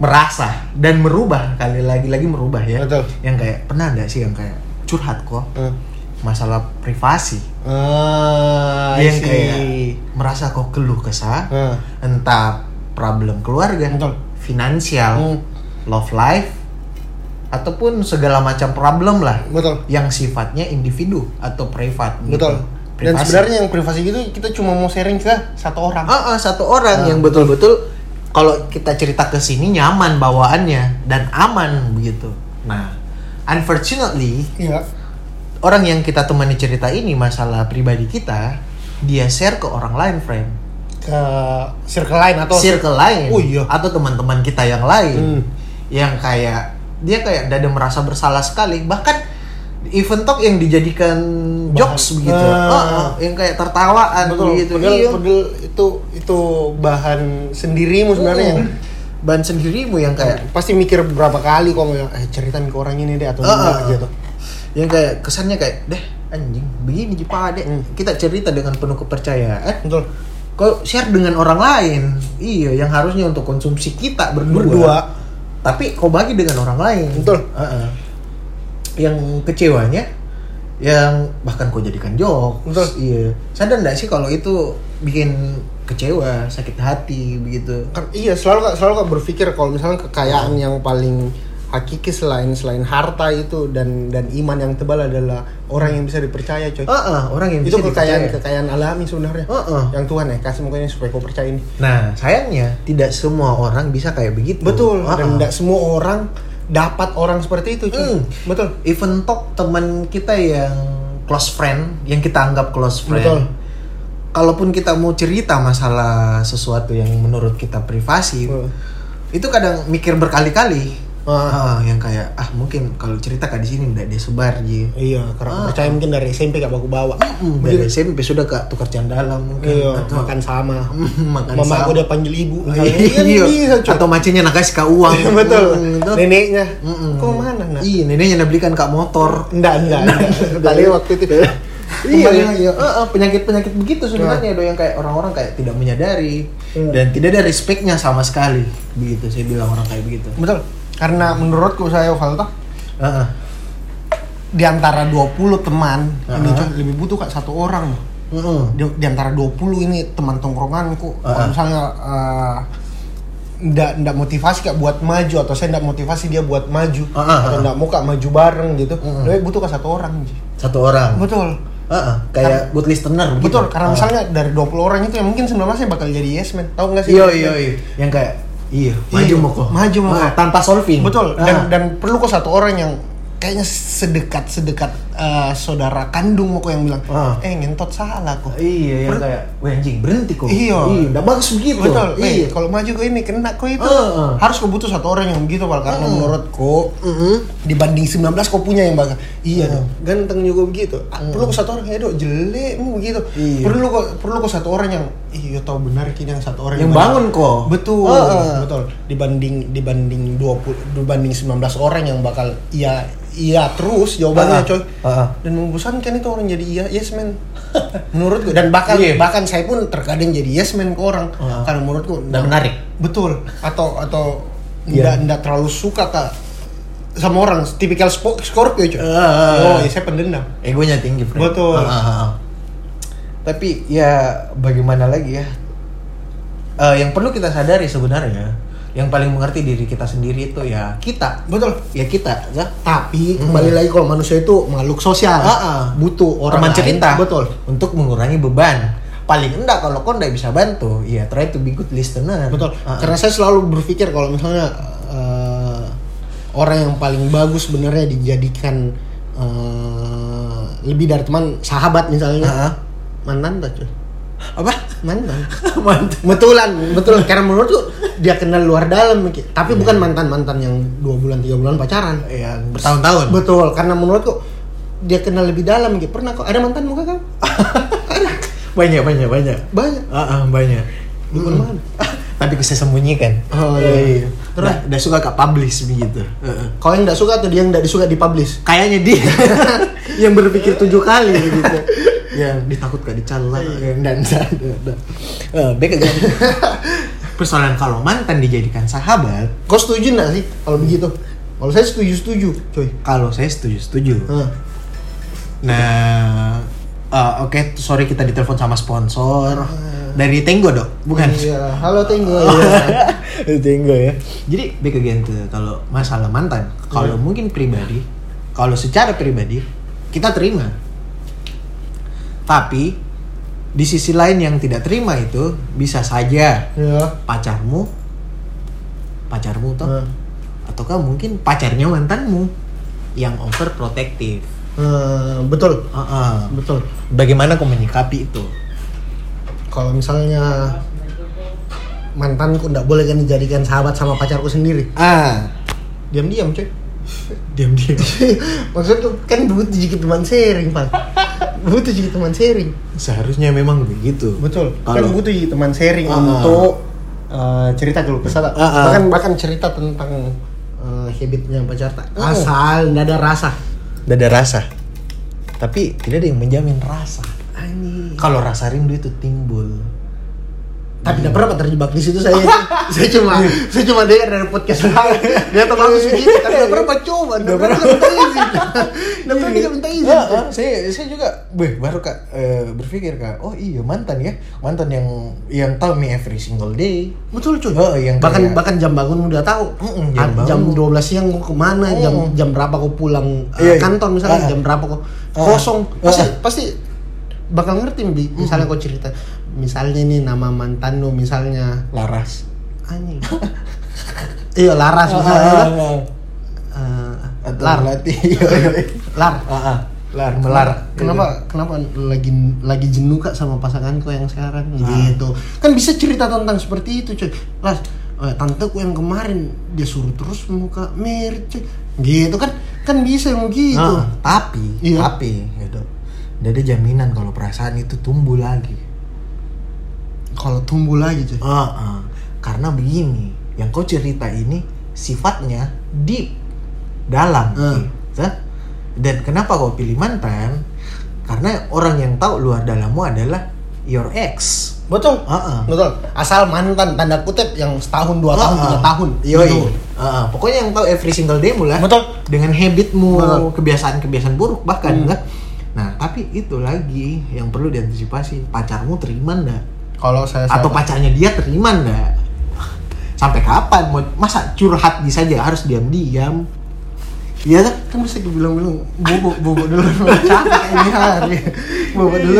Speaker 2: merasa dan merubah kali lagi lagi merubah ya
Speaker 3: Betul.
Speaker 2: yang kayak pernah ada sih yang kayak curhat kok
Speaker 3: Eh.
Speaker 2: masalah privasi
Speaker 3: ah
Speaker 2: yang
Speaker 3: I see.
Speaker 2: kayak merasa kok keluh kesah
Speaker 3: Hmm.
Speaker 2: entah problem keluarga
Speaker 3: Betul.
Speaker 2: finansial
Speaker 3: Hmm.
Speaker 2: love life ataupun segala macam problem lah
Speaker 3: betul
Speaker 2: yang sifatnya individu atau privat gitu.
Speaker 3: betul dan
Speaker 2: Privasi.
Speaker 3: sebenarnya yang privasi gitu kita cuma mau sharing ke satu orang
Speaker 2: Ah, ah, satu orang
Speaker 3: Ah,
Speaker 2: yang betul-betul kalau kita cerita ke sini nyaman bawaannya dan aman begitu nah unfortunately
Speaker 3: iya
Speaker 2: orang yang kita temani cerita ini masalah pribadi kita dia share ke orang lain friend
Speaker 3: ke circle lain atau
Speaker 2: circle lain
Speaker 3: Oh iya.
Speaker 2: atau teman-teman kita yang lain
Speaker 3: Hmm.
Speaker 2: yang kayak dia kayak dada merasa bersalah sekali bahkan event talk yang dijadikan jokes begitu
Speaker 3: Ah.
Speaker 2: Ah, ah, yang kayak tertawaan
Speaker 3: betul
Speaker 2: gitu
Speaker 3: padahal,
Speaker 2: Iya.
Speaker 3: padahal itu itu bahan sendirimu
Speaker 2: Oh.
Speaker 3: sebenarnya
Speaker 2: Iya.
Speaker 3: yang
Speaker 2: ban sendirimu yang kayak
Speaker 3: pasti mikir berapa kali kok mau eh ceritain ke orang ini deh atau
Speaker 2: Ah,
Speaker 3: enggak
Speaker 2: ah.
Speaker 3: gitu
Speaker 2: yang kayak kesannya kayak deh anjing begini Jepang deh
Speaker 3: Hmm.
Speaker 2: kita cerita dengan penuh kepercayaan
Speaker 3: betul
Speaker 2: kok share dengan orang lain iya yang harusnya untuk konsumsi kita berdua,
Speaker 3: Berdua.
Speaker 2: tapi kau bagi dengan orang lain
Speaker 3: Betul.
Speaker 2: Heeh. yang kecewanya yang bahkan kau jadikan jokes
Speaker 3: Betul.
Speaker 2: iya sadar nggak sih kalau itu bikin kecewa sakit hati begitu
Speaker 3: Kan- iya selalu kak selalu kak berpikir kalau misalnya kekayaan yang paling hakiki selain selain harta itu dan dan iman yang tebal adalah orang yang bisa dipercaya coy
Speaker 2: Heeh, orang yang
Speaker 3: itu
Speaker 2: Oh. bisa
Speaker 3: kekayaan
Speaker 2: dipercaya. Oh.
Speaker 3: kekayaan alami sebenarnya
Speaker 2: Heeh.
Speaker 3: yang Tuhan ya kasih mukanya supaya kau percaya ini
Speaker 2: nah sayangnya tidak semua orang bisa kayak begitu
Speaker 3: betul
Speaker 2: Heeh.
Speaker 3: dan tidak semua orang dapat orang seperti itu cuy
Speaker 2: Ah. Hmm.
Speaker 3: betul
Speaker 2: even talk teman kita yang close friend yang kita anggap close friend
Speaker 3: Betul.
Speaker 2: kalaupun kita mau cerita masalah sesuatu yang menurut kita privasi
Speaker 3: Hmm.
Speaker 2: itu kadang mikir berkali-kali Ah,
Speaker 3: Ah.
Speaker 2: yang kayak ah mungkin kalau cerita kayak di sini udah dia sebar ji
Speaker 3: iya karena
Speaker 2: Ah.
Speaker 3: percaya mungkin dari SMP gak aku bawa
Speaker 2: Mm, dari SMP sudah ke tukar dalam mungkin
Speaker 3: iya
Speaker 2: atau
Speaker 3: makan sama
Speaker 2: makan
Speaker 3: mama
Speaker 2: sama.
Speaker 3: aku udah panggil ibu misalnya. Kan
Speaker 2: iya,
Speaker 3: bisa, cuy.
Speaker 2: atau macinya nak kasih kau uang
Speaker 3: Iya, betul
Speaker 2: Mm, itu-
Speaker 3: neneknya
Speaker 2: Mm-mm.
Speaker 3: kok mana nak
Speaker 2: iya neneknya nak belikan kak motor
Speaker 3: Enggak, enggak, enggak. Kali waktu itu.
Speaker 2: iya
Speaker 3: Kembali lagi. Iya.
Speaker 2: iya penyakit penyakit begitu sebenarnya do yang kayak orang-orang kayak tidak menyadari dan tidak ada respectnya sama sekali begitu saya bilang orang kayak begitu
Speaker 3: Betul. Karena menurutku saya Valta
Speaker 2: Heeh.
Speaker 3: di antara 20 teman ini
Speaker 2: Uh-huh.
Speaker 3: coy, lebih butuh kak satu orang loh.
Speaker 2: Mm-mm.
Speaker 3: Di, di antara 20 ini teman tongkronganku
Speaker 2: Uh-huh.
Speaker 3: kalau misalnya eh, ndak ndak motivasi kak buat maju atau saya ndak motivasi dia buat maju
Speaker 2: Uh-huh.
Speaker 3: atau ndak mau kak maju bareng gitu.
Speaker 2: Uh-huh.
Speaker 3: Lebih butuh kak satu orang. Ji.
Speaker 2: satu orang
Speaker 3: Betul.
Speaker 2: Heeh, kayak good listener gitu.
Speaker 3: Betul, karena
Speaker 2: Heeh.
Speaker 3: misalnya dari 20 orang itu yang mungkin 19 nya bakal jadi yes man. Tahu nggak sih?
Speaker 2: iya
Speaker 3: yes
Speaker 2: iya
Speaker 3: man?
Speaker 2: iya yang kayak iya maju
Speaker 3: Iya,
Speaker 2: mau kok
Speaker 3: maju mau
Speaker 2: Ah,
Speaker 3: kok.
Speaker 2: tanpa solving
Speaker 3: Betul.
Speaker 2: Ah.
Speaker 3: Dan dan perlu kok satu orang yang kayaknya sedekat sedekat eh, saudara kandung kok yang bilang,
Speaker 2: Ah.
Speaker 3: eh ngentot salah kok.
Speaker 2: iya yang kayak wah anjing berhenti kok
Speaker 3: Iya.
Speaker 2: iya udah bagus begitu
Speaker 3: Betul.
Speaker 2: iya
Speaker 3: Eh, kalau maju kok ini kena kok itu.
Speaker 2: Ah, ah.
Speaker 3: Harus kok butuh satu orang yang begitu Wal. karena menurutku
Speaker 2: Mm-mm.
Speaker 3: dibanding 19 kok punya yang bakal iya dong ganteng juga begitu Ah, perlu kok satu orang ya dok jelek mu begitu
Speaker 2: Iya.
Speaker 3: perlu kok perlu kok satu orang yang iya tau benar kini yang satu orang
Speaker 2: Yang bangun kok.
Speaker 3: betul
Speaker 2: Ah, ah.
Speaker 3: betul dibanding dibanding 20 dibanding 19 orang yang bakal iya iya terus jawabannya
Speaker 2: Ah, ah.
Speaker 3: coy
Speaker 2: Ah, ah.
Speaker 3: dan membosankan itu orang jadi iya yes man menurutku dan bahkan
Speaker 2: Iya.
Speaker 3: bahkan saya pun terkadang jadi yes man ke orang
Speaker 2: Ah.
Speaker 3: karena menurutku
Speaker 2: Dan menarik.
Speaker 3: betul atau atau
Speaker 2: Iya.
Speaker 3: ndak ndak terlalu suka kak sama orang tipikal spo- Scorpio cuy.
Speaker 2: Ah, ah, ah.
Speaker 3: oh iya, saya pendendam
Speaker 2: egonya tinggi Fred.
Speaker 3: Betul.
Speaker 2: Ah, ah, ah. tapi ya bagaimana lagi ya Eh, yang perlu kita sadari sebenarnya yang paling mengerti diri kita sendiri itu ya kita
Speaker 3: betul
Speaker 2: ya kita ya
Speaker 3: tapi kembali lagi kalau manusia itu makhluk sosial
Speaker 2: Hmm. Ah, ah.
Speaker 3: butuh orang
Speaker 2: teman
Speaker 3: lain.
Speaker 2: cerita
Speaker 3: betul
Speaker 2: untuk mengurangi beban paling enggak kalau kau enggak bisa bantu ya try to be good listener
Speaker 3: betul
Speaker 2: Ah, ah.
Speaker 3: karena saya selalu berpikir kalau misalnya eh, orang yang paling bagus sebenarnya dijadikan eh, lebih dari teman sahabat misalnya
Speaker 2: Ah, ah.
Speaker 3: mantan tak cuy
Speaker 2: apa
Speaker 3: mantan
Speaker 2: mantap
Speaker 3: Betulan, betul. Karena menurut tuh dia kenal luar dalam, Ki.
Speaker 2: Iya.
Speaker 3: tapi bukan mantan mantan yang dua bulan tiga bulan pacaran.
Speaker 2: ya bertahun-tahun
Speaker 3: Betul, karena menurut tuh dia kenal lebih dalam, Ki. Pernah kok ada mantan muka kau?
Speaker 2: Ah. banyak banyak banyak
Speaker 3: Banyak.
Speaker 2: Ah, ah, banyak
Speaker 3: Di
Speaker 2: Mm-mm.
Speaker 3: mana?
Speaker 2: tapi saya sembunyikan
Speaker 3: Oh, iya.
Speaker 2: terus Ah,
Speaker 3: Terus?
Speaker 2: udah, suka ke publish begitu Heeh.
Speaker 3: Kau yang nggak suka atau dia yang nggak disuka dipublish?
Speaker 2: kayaknya dia yang berpikir tujuh kali gitu yang ditakutkan dicala dan dan dan Eh, baik aja. persoalan kalau mantan dijadikan sahabat
Speaker 3: Kau setuju nggak sih kalau begitu? Kalau saya setuju setuju, coy.
Speaker 2: kalau saya setuju setuju
Speaker 3: Hah.
Speaker 2: nah eh, oke sorry kita ditelepon sama sponsor dari Tenggo dok bukan
Speaker 3: Iya, halo Tenggo. Iya.
Speaker 2: Tenggo ya. Jadi back again tuh kalau masalah mantan, kalau mungkin pribadi, kalau secara pribadi kita terima. Tapi di sisi lain yang tidak terima itu bisa saja
Speaker 3: Iya.
Speaker 2: pacarmu pacarmu toh
Speaker 3: Hah.
Speaker 2: ataukah mungkin pacarnya mantanmu yang overprotective.
Speaker 3: Eh, betul,
Speaker 2: Heeh.
Speaker 3: betul.
Speaker 2: Bagaimana kau menyikapi itu?
Speaker 3: Kalau misalnya mantanku nggak boleh kan dijadikan sahabat sama pacarku sendiri,
Speaker 2: Ah,
Speaker 3: diam-diam coy.
Speaker 2: diam-diam
Speaker 3: maksud tuh kan butuh jadi teman sharing pak butuh jadi teman sharing
Speaker 2: seharusnya memang begitu
Speaker 3: betul kan
Speaker 2: kalau
Speaker 3: butuh jadi teman sharing
Speaker 2: Anu. Ah.
Speaker 3: untuk eh, cerita kalau kesal
Speaker 2: Ah, ah.
Speaker 3: bahkan bahkan cerita tentang eh, habitnya pacar tak
Speaker 2: Ah.
Speaker 3: asal nggak ada rasa
Speaker 1: Nggak ada rasa. Tapi tidak ada yang menjamin rasa.
Speaker 3: Anjing.
Speaker 2: kalau rasa rindu itu timbul
Speaker 3: tapi nggak pernah Pak, terjebak di situ saya saya cuma saya cuma dengar dari podcast
Speaker 2: Iya.
Speaker 3: lain dia teman aku sendiri tapi nggak pernah Pak, coba nggak pernah dia minta izin nggak pernah dia minta izin
Speaker 2: Ya, ah, saya saya juga beh, baru kak eh, berpikir kak oh iya mantan ya mantan yang yang tahu me every single day
Speaker 3: betul cuy
Speaker 2: Oh, yang
Speaker 3: bahkan
Speaker 2: kayak-
Speaker 3: bahkan jam bangun udah tahu
Speaker 2: Mm-mm, jam
Speaker 3: jam, jam
Speaker 2: bangun.
Speaker 3: 12 siang gua kemana jam
Speaker 2: Mm.
Speaker 3: jam berapa gua pulang eh,
Speaker 2: Iya, iya.
Speaker 3: kantor
Speaker 2: Ah.
Speaker 3: misalnya jam berapa kok
Speaker 2: Ah.
Speaker 3: kosong pasti
Speaker 2: Ah.
Speaker 3: pasti bakal ngerti Bi. misalnya kau cerita misalnya nih nama mantan lu misalnya
Speaker 2: laras
Speaker 3: anjing iya laras
Speaker 2: Ah,
Speaker 3: misalnya
Speaker 2: ah,
Speaker 3: kan?
Speaker 2: ah.
Speaker 3: Eh,
Speaker 2: Atau
Speaker 3: lar
Speaker 2: melati. Iya, iya, iya.
Speaker 3: lar
Speaker 2: Ah, ah. lar melar Iya.
Speaker 3: kenapa kenapa lagi lagi jenuh kak sama pasanganku yang sekarang
Speaker 2: Nah.
Speaker 3: gitu kan bisa cerita tentang seperti itu cuy las eh, tanteku yang kemarin dia suruh terus muka merit cuy gitu kan kan bisa yang
Speaker 2: Gitu.
Speaker 3: gitu
Speaker 2: Ah, tapi
Speaker 3: Iya.
Speaker 2: tapi gitu Nggak ada jaminan kalau perasaan itu tumbuh lagi
Speaker 3: kalau tumbuh lagi cuy
Speaker 2: Ah, ah. karena begini yang kau cerita ini sifatnya deep dalam
Speaker 3: Ah.
Speaker 2: gitu. dan kenapa kau pilih mantan karena orang yang tahu luar dalammu adalah your ex
Speaker 3: betul
Speaker 2: Ah, ah.
Speaker 3: betul asal mantan tanda kutip yang setahun dua tahun
Speaker 2: Ah,
Speaker 3: tiga
Speaker 2: ah.
Speaker 3: tahun Gitu.
Speaker 2: Yoi.
Speaker 3: Betul.
Speaker 2: Ah, ah. pokoknya yang tahu every single day mula
Speaker 3: Betul.
Speaker 2: dengan habitmu
Speaker 3: Betul.
Speaker 2: kebiasaan-kebiasaan buruk bahkan
Speaker 3: Hmm.
Speaker 2: kan? nah tapi itu lagi yang perlu diantisipasi pacarmu terima ndak
Speaker 3: kalau saya
Speaker 2: atau pacarnya dia terima ndak sampai kapan mau masa curhat bisa aja harus diam-diam iya kan
Speaker 3: kan bisa dibilang-bilang bobo bobo dulu capek ini hari bobo dulu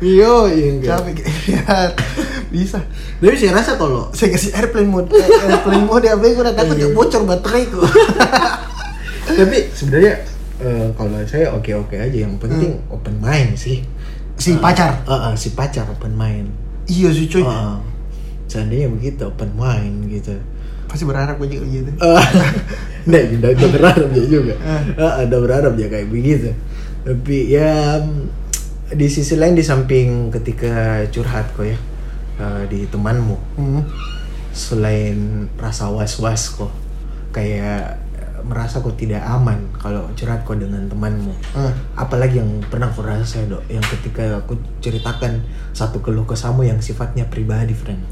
Speaker 2: iyo iya
Speaker 3: capek lihat bisa
Speaker 2: tapi saya rasa kalau
Speaker 3: saya kasih airplane mode Eh, airplane mode apa gue udah takut ya
Speaker 2: Iya.
Speaker 3: bocor bateraiku
Speaker 2: tapi sebenarnya eh, kalau saya oke-oke aja yang penting open mind sih
Speaker 3: Hmm. si pacar
Speaker 2: Eh, eh, si pacar open mind
Speaker 3: iya sih cuy
Speaker 2: Heeh. seandainya begitu open mind gitu
Speaker 3: pasti berharap gue juga gitu
Speaker 2: nah udah, udah berharap dia juga Heeh, udah berharap dia kayak begitu tapi ya mm, di sisi lain di samping ketika curhat kok ya eh, di temanmu
Speaker 3: hmm.
Speaker 2: selain rasa was-was kok kayak eh, merasa kok tidak aman kalau curhat kok dengan temanmu
Speaker 3: Eh.
Speaker 2: apalagi yang pernah aku rasa dok yang ketika aku ceritakan satu keluh kesahmu yang sifatnya pribadi friend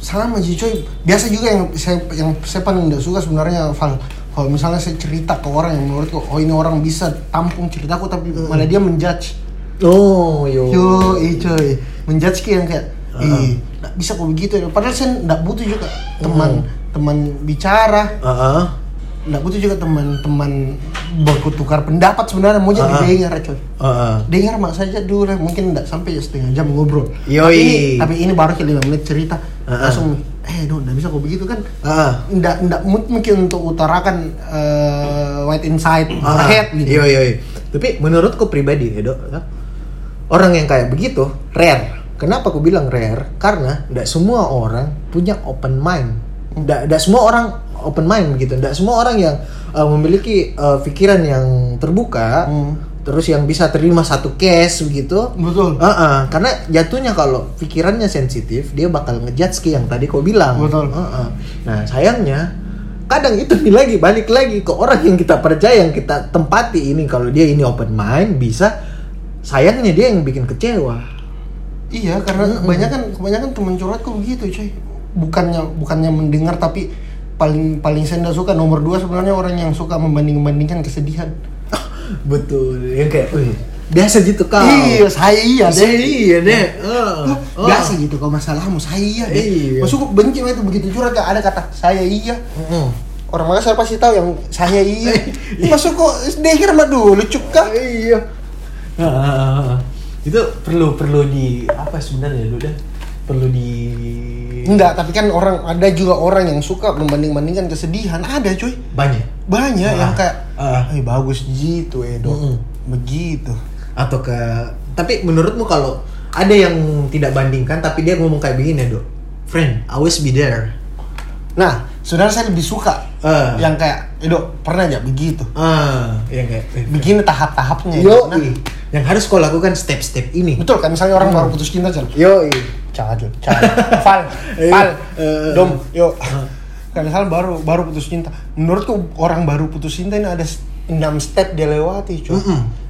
Speaker 3: sama sih cuy biasa juga yang saya yang saya paling nggak suka sebenarnya Val kalau misalnya saya cerita ke orang yang menurutku oh ini orang bisa tampung ceritaku tapi malah dia menjudge
Speaker 2: Oh, yo.
Speaker 3: yo eh, cuy menjudge kayak yang kayak ih nggak bisa kok begitu ya padahal saya nggak butuh juga teman teman bicara
Speaker 2: Heeh.
Speaker 3: nggak butuh juga teman-teman berkutukar pendapat sebenarnya mau jadi
Speaker 2: Ah.
Speaker 3: dengar coy
Speaker 2: Heeh.
Speaker 3: dengar mak saja dulu lah, mungkin nggak sampai ya setengah jam ngobrol
Speaker 2: Yoi.
Speaker 3: tapi, tapi ini baru kayak lima menit cerita
Speaker 2: Ah.
Speaker 3: langsung eh dong nggak bisa kok begitu kan
Speaker 2: Heeh.
Speaker 3: nggak nggak mood mungkin untuk utarakan eh, white inside
Speaker 2: Ah,
Speaker 3: head gitu
Speaker 2: Iya, iya, iya. Tapi menurutku pribadi, ya, Dok, ya, orang yang kayak begitu rare. Kenapa aku bilang rare? Karena tidak semua orang punya open mind. Tidak semua orang open mind gitu. Tidak semua orang yang uh, memiliki uh, pikiran yang terbuka,
Speaker 3: Hmm.
Speaker 2: terus yang bisa terima satu case begitu.
Speaker 3: betul
Speaker 2: Heeh, karena jatuhnya kalau pikirannya sensitif, dia bakal ngejudge kayak yang tadi kau bilang.
Speaker 3: Betul.
Speaker 2: Heeh. Nah, sayangnya kadang itu nih lagi balik lagi ke orang yang kita percaya, yang kita tempati ini kalau dia ini open mind bisa sayangnya dia yang bikin kecewa.
Speaker 3: Iya, karena kebanyakan kebanyakan teman curhatku begitu, coy. Bukannya bukannya mendengar tapi paling paling saya nggak suka nomor dua sebenarnya orang yang suka membanding-bandingkan kesedihan.
Speaker 2: Betul. Yang kayak, "Wih, biasa gitu kau.
Speaker 3: Iya, saya iya
Speaker 2: Biasa,
Speaker 3: deh.
Speaker 2: iya deh. Heeh.
Speaker 3: Loh,
Speaker 2: Heeh.
Speaker 3: Biasa gitu kalau masalahmu saya iya deh.
Speaker 2: Ah. Iya.
Speaker 3: Maksudku benci banget begitu curhat kayak ada kata saya iya.
Speaker 2: Heeh.
Speaker 3: Orang Makassar pasti tahu yang saya iya. Maksudku dengar mah dulu cuk kah?
Speaker 2: Iya. Heeh. Itu perlu perlu di apa sebenarnya lu dah? Perlu di
Speaker 3: Enggak, tapi kan orang ada juga orang yang suka membanding-bandingkan kesedihan. Ada, cuy.
Speaker 2: banyak
Speaker 3: banyak
Speaker 2: Ah.
Speaker 3: yang kayak
Speaker 2: Ah.
Speaker 3: eh bagus gitu Edo
Speaker 2: Mm-mm.
Speaker 3: begitu
Speaker 2: atau ke tapi menurutmu kalau ada yang tidak bandingkan tapi dia ngomong kayak begini dok friend always be there
Speaker 3: nah sebenarnya saya lebih suka
Speaker 2: Eh.
Speaker 3: yang kayak Edo pernah nggak begitu
Speaker 2: ah yang kayak eh,
Speaker 3: begini tahap-tahapnya
Speaker 2: yo
Speaker 3: Nah,
Speaker 2: yang harus kau lakukan step-step ini
Speaker 3: betul kan misalnya
Speaker 2: Hmm.
Speaker 3: orang baru putus cinta Jal.
Speaker 2: yo
Speaker 3: jangan Jal. jangan Fal
Speaker 2: Iya.
Speaker 3: Fal
Speaker 2: Eh.
Speaker 3: Dom yuk kan misalnya baru baru putus cinta menurutku orang baru putus cinta ini ada s- enam step dia lewati cuy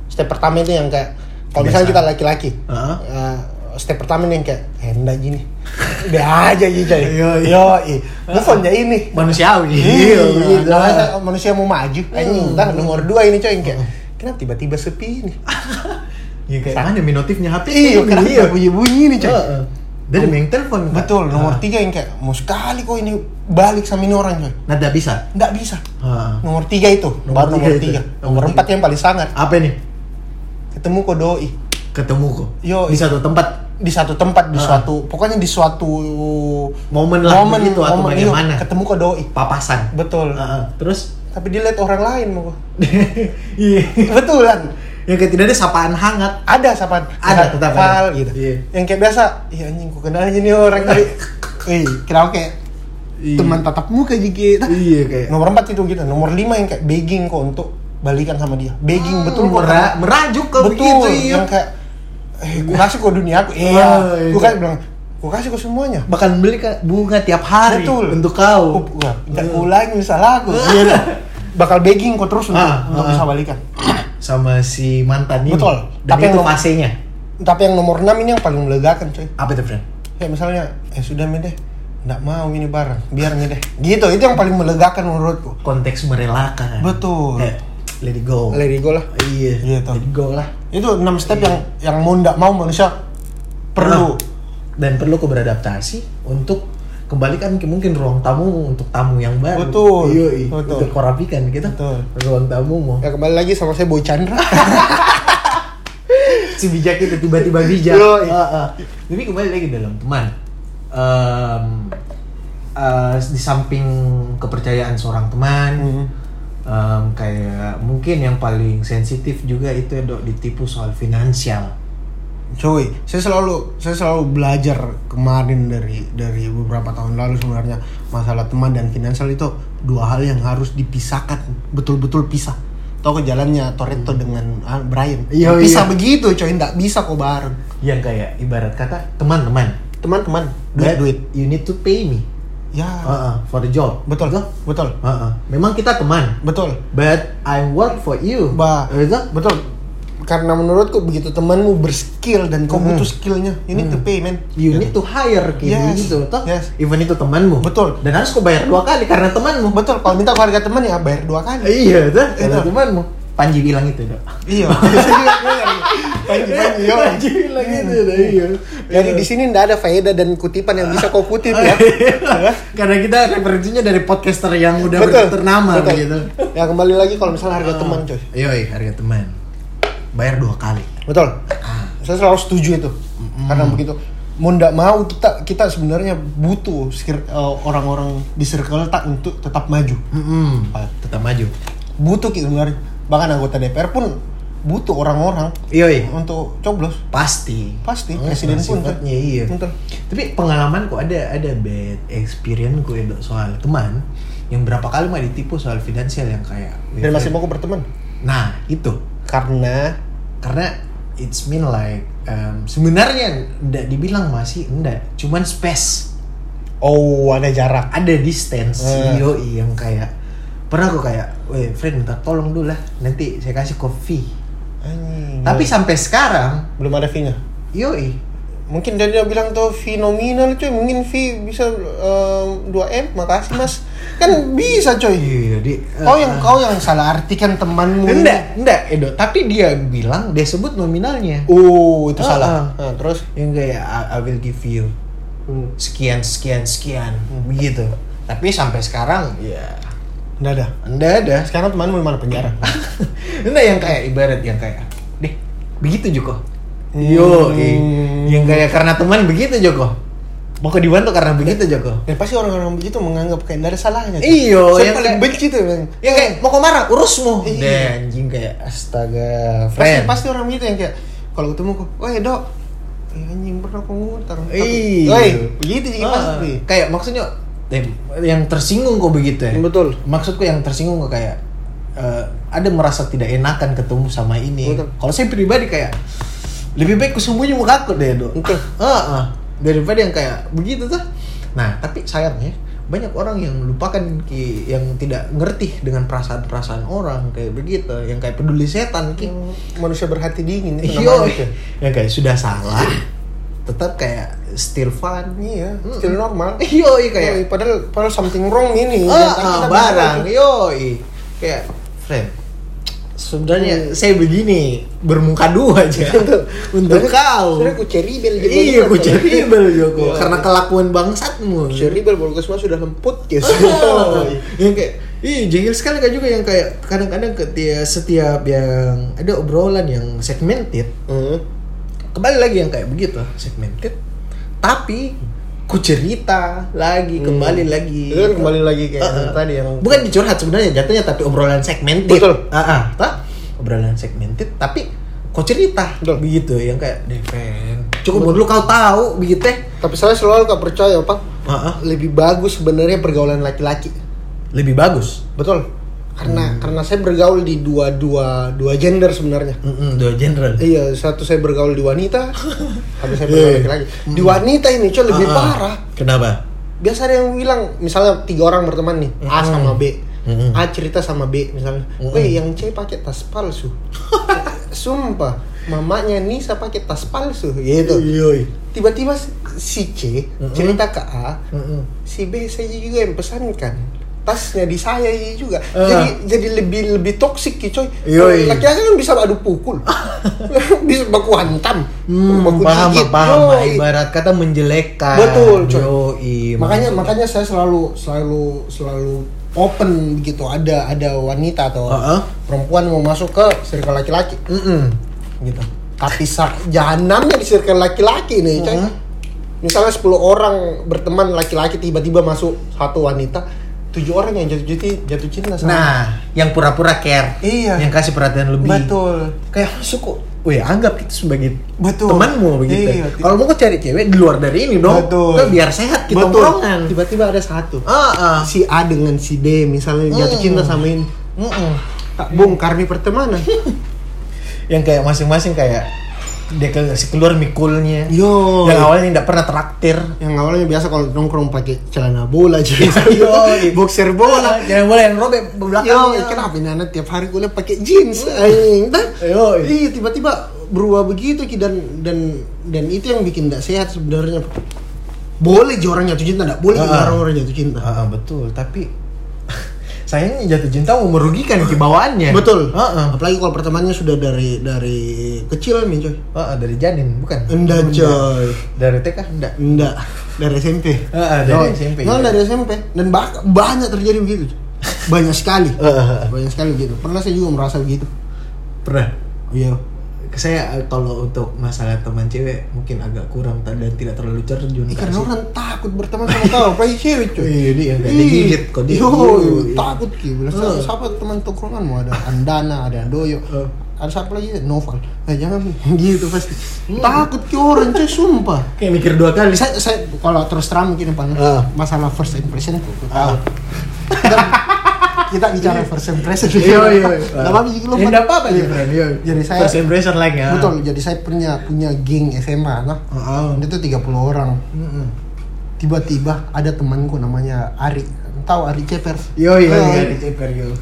Speaker 3: step pertama itu yang kayak kalau misalnya kita laki-laki
Speaker 2: Heeh.
Speaker 3: eh, step pertama ini yang kayak hendak gini udah aja gitu
Speaker 2: Iya,
Speaker 3: yo
Speaker 2: iya.
Speaker 3: yo move on ya ini
Speaker 2: manusiawi
Speaker 3: Iya,
Speaker 2: begitu.
Speaker 3: namanya manusia mau maju. Anjing, ntar nomor dua ini coy yang kayak kenapa tiba-tiba sepi ini?
Speaker 2: yang Iya, kayak mana minotifnya HP
Speaker 3: Iya,
Speaker 2: kan Ah, iya
Speaker 3: kenapa bunyi-bunyi ini coy?
Speaker 2: Heeh. dari yang telepon Kak.
Speaker 3: Betul, nomor
Speaker 2: Ah.
Speaker 3: tiga yang kayak mau sekali kok ini balik sama ini orang coy.
Speaker 2: nah tidak bisa
Speaker 3: Nggak bisa.
Speaker 2: Ah.
Speaker 3: Nomor tiga itu,
Speaker 2: Nomor
Speaker 3: baru
Speaker 2: tiga
Speaker 3: nomor
Speaker 2: itu.
Speaker 3: tiga.
Speaker 2: Nomor
Speaker 3: Nomor
Speaker 2: tiga.
Speaker 3: empat yang paling sangat.
Speaker 2: apa nih
Speaker 3: Ketemu kok doi
Speaker 2: ketemu kok
Speaker 3: Yo,
Speaker 2: di
Speaker 3: iya.
Speaker 2: satu tempat
Speaker 3: di satu tempat di
Speaker 2: Ah.
Speaker 3: suatu pokoknya di suatu
Speaker 2: Momen lah begitu atau
Speaker 3: iya,
Speaker 2: bagaimana.
Speaker 3: ketemu kok doi
Speaker 2: papasan
Speaker 3: betul
Speaker 2: Ah, ah. terus
Speaker 3: tapi dia lihat orang lain mau gua.
Speaker 2: iya
Speaker 3: betul kan
Speaker 2: yang kayak tidak ada sapaan hangat
Speaker 3: ada sapaan
Speaker 2: Ada,
Speaker 3: Kayak
Speaker 2: tetap
Speaker 3: Val,
Speaker 2: ada.
Speaker 3: gitu
Speaker 2: Iya.
Speaker 3: yang kayak biasa iya anjing ku kenal aja nih orang tadi eh kenapa kayak
Speaker 2: Iya.
Speaker 3: teman tatap muka aja gitu
Speaker 2: iya kayak
Speaker 3: nomor empat itu gitu nomor lima yang kayak begging kok untuk balikan sama dia
Speaker 2: Oh,
Speaker 3: begging betul kok
Speaker 2: Mera- merajuk kau
Speaker 3: betul
Speaker 2: begitu iya.
Speaker 3: yang kayak eh gua kasih kok dunia aku iya
Speaker 2: Ah, iya.
Speaker 3: gua kan bilang gua kasih kok semuanya
Speaker 2: bahkan beli Kak, bunga tiap hari
Speaker 3: Betul.
Speaker 2: untuk kau Iya.
Speaker 3: Ku- gua dan ulangi salah aku Iya, dah. bakal begging kok terus untuk,
Speaker 2: Ah,
Speaker 3: untuk
Speaker 2: ah.
Speaker 3: bisa balikan
Speaker 2: sama si mantan ini
Speaker 3: Betul.
Speaker 2: dan
Speaker 3: Tapi
Speaker 2: itu
Speaker 3: yang-
Speaker 2: fasenya
Speaker 3: tapi yang nomor enam ini yang paling melegakan coy
Speaker 2: apa itu friend
Speaker 3: ya misalnya eh sudah mi deh nggak mau ini barang biar mi deh gitu itu yang paling melegakan menurutku
Speaker 2: konteks merelakan
Speaker 3: Betul.
Speaker 2: Kayak, let it go
Speaker 3: let it go lah
Speaker 2: iya
Speaker 3: Gitu.
Speaker 2: let it go lah
Speaker 3: itu enam step yang yang mau nggak mau manusia
Speaker 2: Ah.
Speaker 3: perlu
Speaker 2: dan perlu kau beradaptasi untuk kembalikan ke mungkin ruang tamu untuk tamu yang baru
Speaker 3: Betul.
Speaker 2: Yoi.
Speaker 3: Betul.
Speaker 2: untuk kau rapikan kita
Speaker 3: Betul.
Speaker 2: ruang tamu mau
Speaker 3: ya kembali lagi sama saya Boy Chandra
Speaker 2: si bijak itu tiba-tiba bijak.
Speaker 3: Yoi.
Speaker 2: Ah, ah. Tapi kembali lagi dalam teman. Em, eh, di samping kepercayaan seorang teman,
Speaker 3: Mhm.
Speaker 2: em, kayak mungkin yang paling sensitif juga itu ya, dok ditipu soal finansial.
Speaker 3: Cuy, saya selalu saya selalu belajar kemarin dari dari beberapa tahun lalu sebenarnya masalah teman dan finansial itu dua hal yang harus dipisahkan betul-betul pisah. Tahu ke jalannya Toretto dengan ah, Brian.
Speaker 2: Iya, iya.
Speaker 3: pisah begitu, coy, nggak bisa kok bareng.
Speaker 2: Yang kayak ibarat kata teman-teman,
Speaker 3: Teman-teman,
Speaker 2: That
Speaker 3: duit-duit.
Speaker 2: You need to pay me
Speaker 3: Ya,
Speaker 2: Ah, ah, for the job.
Speaker 3: betul,
Speaker 2: Betul.
Speaker 3: betul,
Speaker 2: Ah, ah. Memang kita teman,
Speaker 3: betul.
Speaker 2: but I work for you.
Speaker 3: Ba-
Speaker 2: Betul?
Speaker 3: Betul. Karena menurutku begitu temanmu berskill dan kau
Speaker 2: Mhm.
Speaker 3: butuh skillnya, ini to pay man.
Speaker 2: you need to hire kayak
Speaker 3: Yes.
Speaker 2: gitu toh
Speaker 3: Yes.
Speaker 2: even itu temanmu
Speaker 3: Betul.
Speaker 2: dan harus kau bayar dua kali karena temanmu
Speaker 3: Betul, kalau minta ke harga teman ya bayar dua kali.
Speaker 2: iya tuh karena
Speaker 3: Itu.
Speaker 2: temanmu Panji bilang itu dok
Speaker 3: Iya. Panji Panji yo.
Speaker 2: Panji bilang itu dah, iya
Speaker 3: Jadi di sini ndak ada faedah dan kutipan yang bisa kau kutip ya.
Speaker 2: karena kita referensinya dari podcaster yang udah ternama
Speaker 3: betul.
Speaker 2: gitu Ah.
Speaker 3: Ya kembali lagi kalau misalnya harga teman coy.
Speaker 2: yoi harga teman bayar dua kali
Speaker 3: Betul. Saya selalu setuju itu. Karena begitu mau ndak mau kita kita sebenarnya butuh skir- eh, orang-orang di circle tak untuk tetap maju.
Speaker 2: Mm-mm. tetap maju
Speaker 3: Butuh kita sebenarnya. Bahkan anggota DPR pun butuh orang-orang
Speaker 2: yoi
Speaker 3: untuk coblos.
Speaker 2: pasti
Speaker 3: Pasti
Speaker 2: Oh,
Speaker 3: presiden pun coy.
Speaker 2: sifatnya iya
Speaker 3: Betul.
Speaker 2: Tapi pengalaman kok ada ada bad experience gue Dok, soal teman yang berapa kali mah ditipu soal finansial yang kayak
Speaker 3: Dan masih mau aku berteman
Speaker 2: nah itu
Speaker 3: Iya, karena
Speaker 2: karena it's mean like um, sebenarnya ndak dibilang masih ndak cuman space
Speaker 3: oh ada jarak.
Speaker 2: ada distance
Speaker 3: Eh.
Speaker 2: yoi yang kayak pernah aku kayak weh friend minta tolong dulu lah nanti saya kasih kopi
Speaker 3: Hmm. Anjing.
Speaker 2: tapi sampai sekarang
Speaker 3: belum ada fee-nya.
Speaker 2: yoi
Speaker 3: Mungkin dia, dia bilang tuh fee nominal cuy, mungkin fee bisa em, 2M, makasih Mas. Kan bisa coy.
Speaker 2: iya di
Speaker 3: Kau yang kau yang salah artikan temanmu. ini.
Speaker 2: enggak enggak Edo tapi dia bilang dia sebut nominalnya
Speaker 3: Oh, itu
Speaker 2: Ah,
Speaker 3: salah.
Speaker 2: ah.
Speaker 3: Nah, terus
Speaker 2: yang kayak I, I will give you
Speaker 3: Hmm.
Speaker 2: sekian sekian sekian begitu tapi sampai sekarang ya
Speaker 3: enggak ada.
Speaker 2: anda ada
Speaker 3: Sekarang temanmu di mana penjara?
Speaker 2: anda yang kayak ibarat yang kayak deh begitu Joko
Speaker 3: Hmm.
Speaker 2: yo eh. yang kayak karena teman begitu Joko mau kau dibantu karena begitu Joko
Speaker 3: Dan pasti orang-orang begitu menganggap kayak enggak ada salahnya. cuy.
Speaker 2: Iya,
Speaker 3: Saya
Speaker 2: yang
Speaker 3: paling
Speaker 2: kayak-
Speaker 3: benci tuh, Bang.
Speaker 2: yang kayak mau kau marah urusmu
Speaker 3: Iya.
Speaker 2: dan anjing kayak astaga
Speaker 3: Pasti,
Speaker 2: friend
Speaker 3: pasti orang gitu yang kayak kalau ketemu kok, "Woi, Dok." "Eh, anjing pernah aku ngutang." Tapi,
Speaker 2: Iya.
Speaker 3: "Woi, begitu juga
Speaker 2: Ah,
Speaker 3: pasti.
Speaker 2: kayak maksudnya eh, yang tersinggung kok begitu ya
Speaker 1: Betul.
Speaker 2: maksudku yang tersinggung kok kayak eh, ada merasa tidak enakan ketemu sama ini
Speaker 1: Betul.
Speaker 2: kalau saya pribadi kayak lebih baik kusembunyi muka aku deh dok
Speaker 1: Betul.
Speaker 2: Heeh. daripada yang kayak begitu tuh nah tapi sayangnya banyak orang yang melupakan ki yang tidak ngerti dengan perasaan-perasaan orang kayak begitu yang kayak peduli setan ki
Speaker 1: Hmm.
Speaker 3: manusia berhati dingin itu
Speaker 2: Yo,
Speaker 1: gitu?
Speaker 3: namanya.
Speaker 2: yang kayak sudah salah, tetap kayak still fun.
Speaker 3: Iya, still normal.
Speaker 2: Yo, kayak
Speaker 3: Yoi, padahal padahal something wrong ini.
Speaker 2: ah,
Speaker 3: Yang
Speaker 2: Iya. ah,
Speaker 3: kita
Speaker 2: barang,
Speaker 3: bilang itu.
Speaker 2: yo, kayak friend. Sebenarnya saya begini bermuka dua aja untuk kau.
Speaker 3: Sebenarnya kucing rebel gitu.
Speaker 2: Iya, ku ceribel Joko
Speaker 3: Iya.
Speaker 2: karena kelakuan bangsatmu.
Speaker 3: Kucing rebel baru Ya, gue semua sudah lemput gitu.
Speaker 2: Ah, yang kayak Ih, jahil sekali kan juga yang kayak kadang-kadang ketika setiap yang ada obrolan yang segmented,
Speaker 3: Hmm.
Speaker 2: kembali lagi yang kayak begitu segmented tapi ku cerita lagi kembali lagi
Speaker 3: Itu kan kembali lagi kayak
Speaker 2: Uh-uh.
Speaker 3: yang tadi yang
Speaker 2: bukan dicurhat sebenarnya jatuhnya tapi obrolan segmented
Speaker 3: Betul.
Speaker 2: Ah, ah, tah? obrolan segmented tapi ku cerita
Speaker 3: Betul.
Speaker 2: begitu yang kayak Deven cukup dulu kau tahu begitu teh
Speaker 3: Tapi saya selalu gak percaya, Pak.
Speaker 2: Ah, ah.
Speaker 3: Lebih bagus sebenarnya pergaulan laki-laki.
Speaker 2: lebih bagus
Speaker 3: Betul. Karena
Speaker 2: Hmm.
Speaker 3: karena saya bergaul di dua dua dua gender sebenarnya.
Speaker 2: Mm-mm, dua general
Speaker 3: Iya, satu saya bergaul di wanita, tapi saya bergaul
Speaker 2: Iya.
Speaker 3: laki-laki. Di wanita ini cuy lebih
Speaker 2: Ah, ah.
Speaker 3: parah.
Speaker 2: kenapa
Speaker 3: Biasa ada yang bilang, misalnya tiga orang berteman nih, A sama B.
Speaker 2: Mm-mm.
Speaker 3: A cerita sama B misalnya.
Speaker 2: Mm-mm.
Speaker 3: Weh, yang C pakai tas palsu. Sumpah, mamanya Nisa pakai tas palsu gitu.
Speaker 2: Yoi.
Speaker 3: Tiba-tiba si C
Speaker 2: Mm-mm.
Speaker 3: cerita ke A,
Speaker 2: Mm-mm.
Speaker 3: si B saya juga yang pesankan tasnya di saya iya juga
Speaker 2: Ah.
Speaker 3: jadi jadi lebih lebih toksik ki coy
Speaker 2: Yoi.
Speaker 3: laki-laki kan bisa adu pukul bisa baku hantam
Speaker 2: Hmm,
Speaker 3: baku
Speaker 2: paham,
Speaker 3: gigit,
Speaker 2: paham.
Speaker 3: yoi.
Speaker 2: Ibarat kata menjelekkan.
Speaker 3: Betul, coy.
Speaker 2: Yoi,
Speaker 3: makanya makanya saya selalu selalu selalu open begitu ada ada wanita atau
Speaker 2: Heeh.
Speaker 3: perempuan mau masuk ke circle laki-laki
Speaker 2: Mm-mm.
Speaker 3: gitu tapi sa- jahanamnya di circle laki-laki nih coy
Speaker 2: Mhm.
Speaker 3: misalnya 10 orang berteman laki-laki tiba-tiba masuk satu wanita tujuh orang yang jatuh cinta jatuh cinta sama
Speaker 2: Nah, yang pura-pura care,
Speaker 3: Iya.
Speaker 2: yang kasih perhatian lebih.
Speaker 3: betul
Speaker 2: Kayak masuk kok. Weh, anggap itu sebagai
Speaker 3: Betul.
Speaker 2: temanmu begitu.
Speaker 3: Iya.
Speaker 2: Kalau mau kau cari cewek di luar dari ini dong.
Speaker 3: Betul.
Speaker 2: Kau biar sehat kita
Speaker 3: betul
Speaker 2: tongkrongan.
Speaker 3: tiba-tiba ada satu
Speaker 2: Ah, ah.
Speaker 3: si A dengan si D misalnya jatuh
Speaker 2: Hmm.
Speaker 3: cinta sama ini
Speaker 2: Mm-mm.
Speaker 3: tak bongkar nih pertemanan
Speaker 2: Yang kayak masing-masing kayak dia kasih keluar mikulnya.
Speaker 3: yo
Speaker 2: Yang awalnya tidak pernah traktir.
Speaker 3: yang awalnya biasa kalau nongkrong pakai celana bola aja
Speaker 2: Yoi.
Speaker 3: boxer
Speaker 2: Ah,
Speaker 3: bola
Speaker 2: Jangan boleh yang robek
Speaker 3: Yo,
Speaker 2: belakangnya.
Speaker 3: Eh, kenapa ini anak tiap hari gue liat pakai jeans anjing Dah.
Speaker 2: Yoi.
Speaker 3: Iya, tiba-tiba berubah begitu Ki. dan dan dan itu yang bikin tidak sehat sebenarnya. Boleh je orang jatuh cinta, enggak boleh je
Speaker 2: Ah.
Speaker 3: orang orang jatuh cinta.
Speaker 2: Ah, ah, betul, tapi sayangnya jatuh cinta mau merugikan ke bawaannya.
Speaker 3: Betul.
Speaker 2: Ah, ah.
Speaker 3: Apalagi kalau pertemanannya sudah dari dari kecil nih, coy.
Speaker 2: Ah, ah, dari janin bukan?
Speaker 3: Enggak, coy.
Speaker 2: Dari TK enggak.
Speaker 3: Enggak, dari SMP.
Speaker 2: Ah, ah, dari
Speaker 3: Yoi.
Speaker 2: SMP.
Speaker 3: Nah, dari SMP dan bah- banyak terjadi begitu. coy. Banyak sekali.
Speaker 2: Ah, ah, ah.
Speaker 3: Banyak sekali begitu. Pernah saya juga merasa begitu.
Speaker 2: Pernah.
Speaker 3: Iya.
Speaker 2: Saya eh, kalau untuk masalah teman cewek mungkin agak kurang ta- dan tidak terlalu terjun.
Speaker 3: Ini
Speaker 2: Kak,
Speaker 3: karena
Speaker 2: Iya, sih.
Speaker 3: orang takut berteman sama kau, apalagi cewek cuy.
Speaker 2: Iya, dia kayak
Speaker 3: Ih,
Speaker 2: digigit kok dia.
Speaker 3: Yo,
Speaker 2: Iya.
Speaker 3: takut ki. Bilang
Speaker 2: Eh.
Speaker 3: siapa- siapa teman tongkrongan mau ada Andana, ada Doyo.
Speaker 2: Eh.
Speaker 3: Ada siapa lagi? Novel. Eh jangan gitu pasti. Takut ki orang cuy, sumpah.
Speaker 2: kayak mikir dua kali.
Speaker 3: Saya saya kalau terus terang mungkin paling
Speaker 2: Eh.
Speaker 3: masalah first impression aku, aku tahu.
Speaker 2: Ah.
Speaker 3: Dan kita bicara first impression.
Speaker 2: Iya,
Speaker 3: Enggak apa-apa juga lu.
Speaker 2: Ya, nggak apa-apa
Speaker 3: Iya.
Speaker 2: ya, friend. Iya.
Speaker 3: Jadi saya
Speaker 2: first impression like ya.
Speaker 3: betul, jadi saya punya punya geng SMA nah.
Speaker 2: Ah, ah.
Speaker 3: Itu 30 orang
Speaker 2: Mm-mm.
Speaker 3: tiba-tiba ada temanku namanya Ari tahu Ari Ceper
Speaker 2: Yo yo
Speaker 3: Eh,
Speaker 2: yo, ceper yo.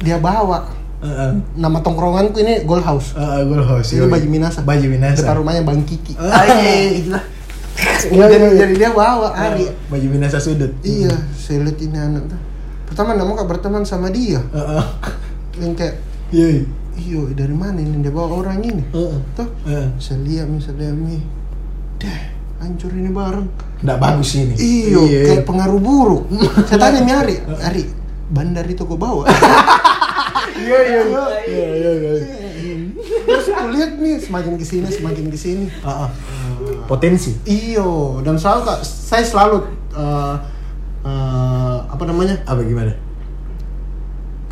Speaker 3: dia bawa
Speaker 2: Heeh.
Speaker 3: nama tongkronganku ini Gold House
Speaker 2: gue Uh-uh. host. yoi.
Speaker 3: itu baju Minasa
Speaker 2: Baju Minasa.
Speaker 3: depan rumahnya Bang Kiki
Speaker 2: Ah.
Speaker 3: Aye, gitu lah.
Speaker 2: Iya, iya,
Speaker 3: jadi,
Speaker 2: iya.
Speaker 3: jadi dia bawa
Speaker 2: Ah,
Speaker 3: Ari
Speaker 2: Baju Minasa sudut.
Speaker 3: iya saya lihat ini anak tuh pertama nggak mau kak berteman sama dia
Speaker 2: Heeh.
Speaker 3: yang kayak
Speaker 2: Uh-uh. Yoi.
Speaker 3: iyo dari mana ini dia bawa orang ini
Speaker 2: Heeh.
Speaker 3: tuh
Speaker 2: Heeh.
Speaker 3: saya lihat misalnya mi dah hancur ini bareng
Speaker 2: Nggak bagus sih ini. Iya.
Speaker 3: Iyo, Iya, kayak pengaruh buruk. Saya tanya Mi Ari, Ari, bandar itu kok bawa?
Speaker 2: Iya iya iya iya.
Speaker 3: Terus aku lihat nih, semakin kesini, semakin kesini.
Speaker 2: Ah, ah. Potensi.
Speaker 3: Iyo, dan selalu kak, saya selalu eh, eh, apa namanya?
Speaker 2: Apa gimana?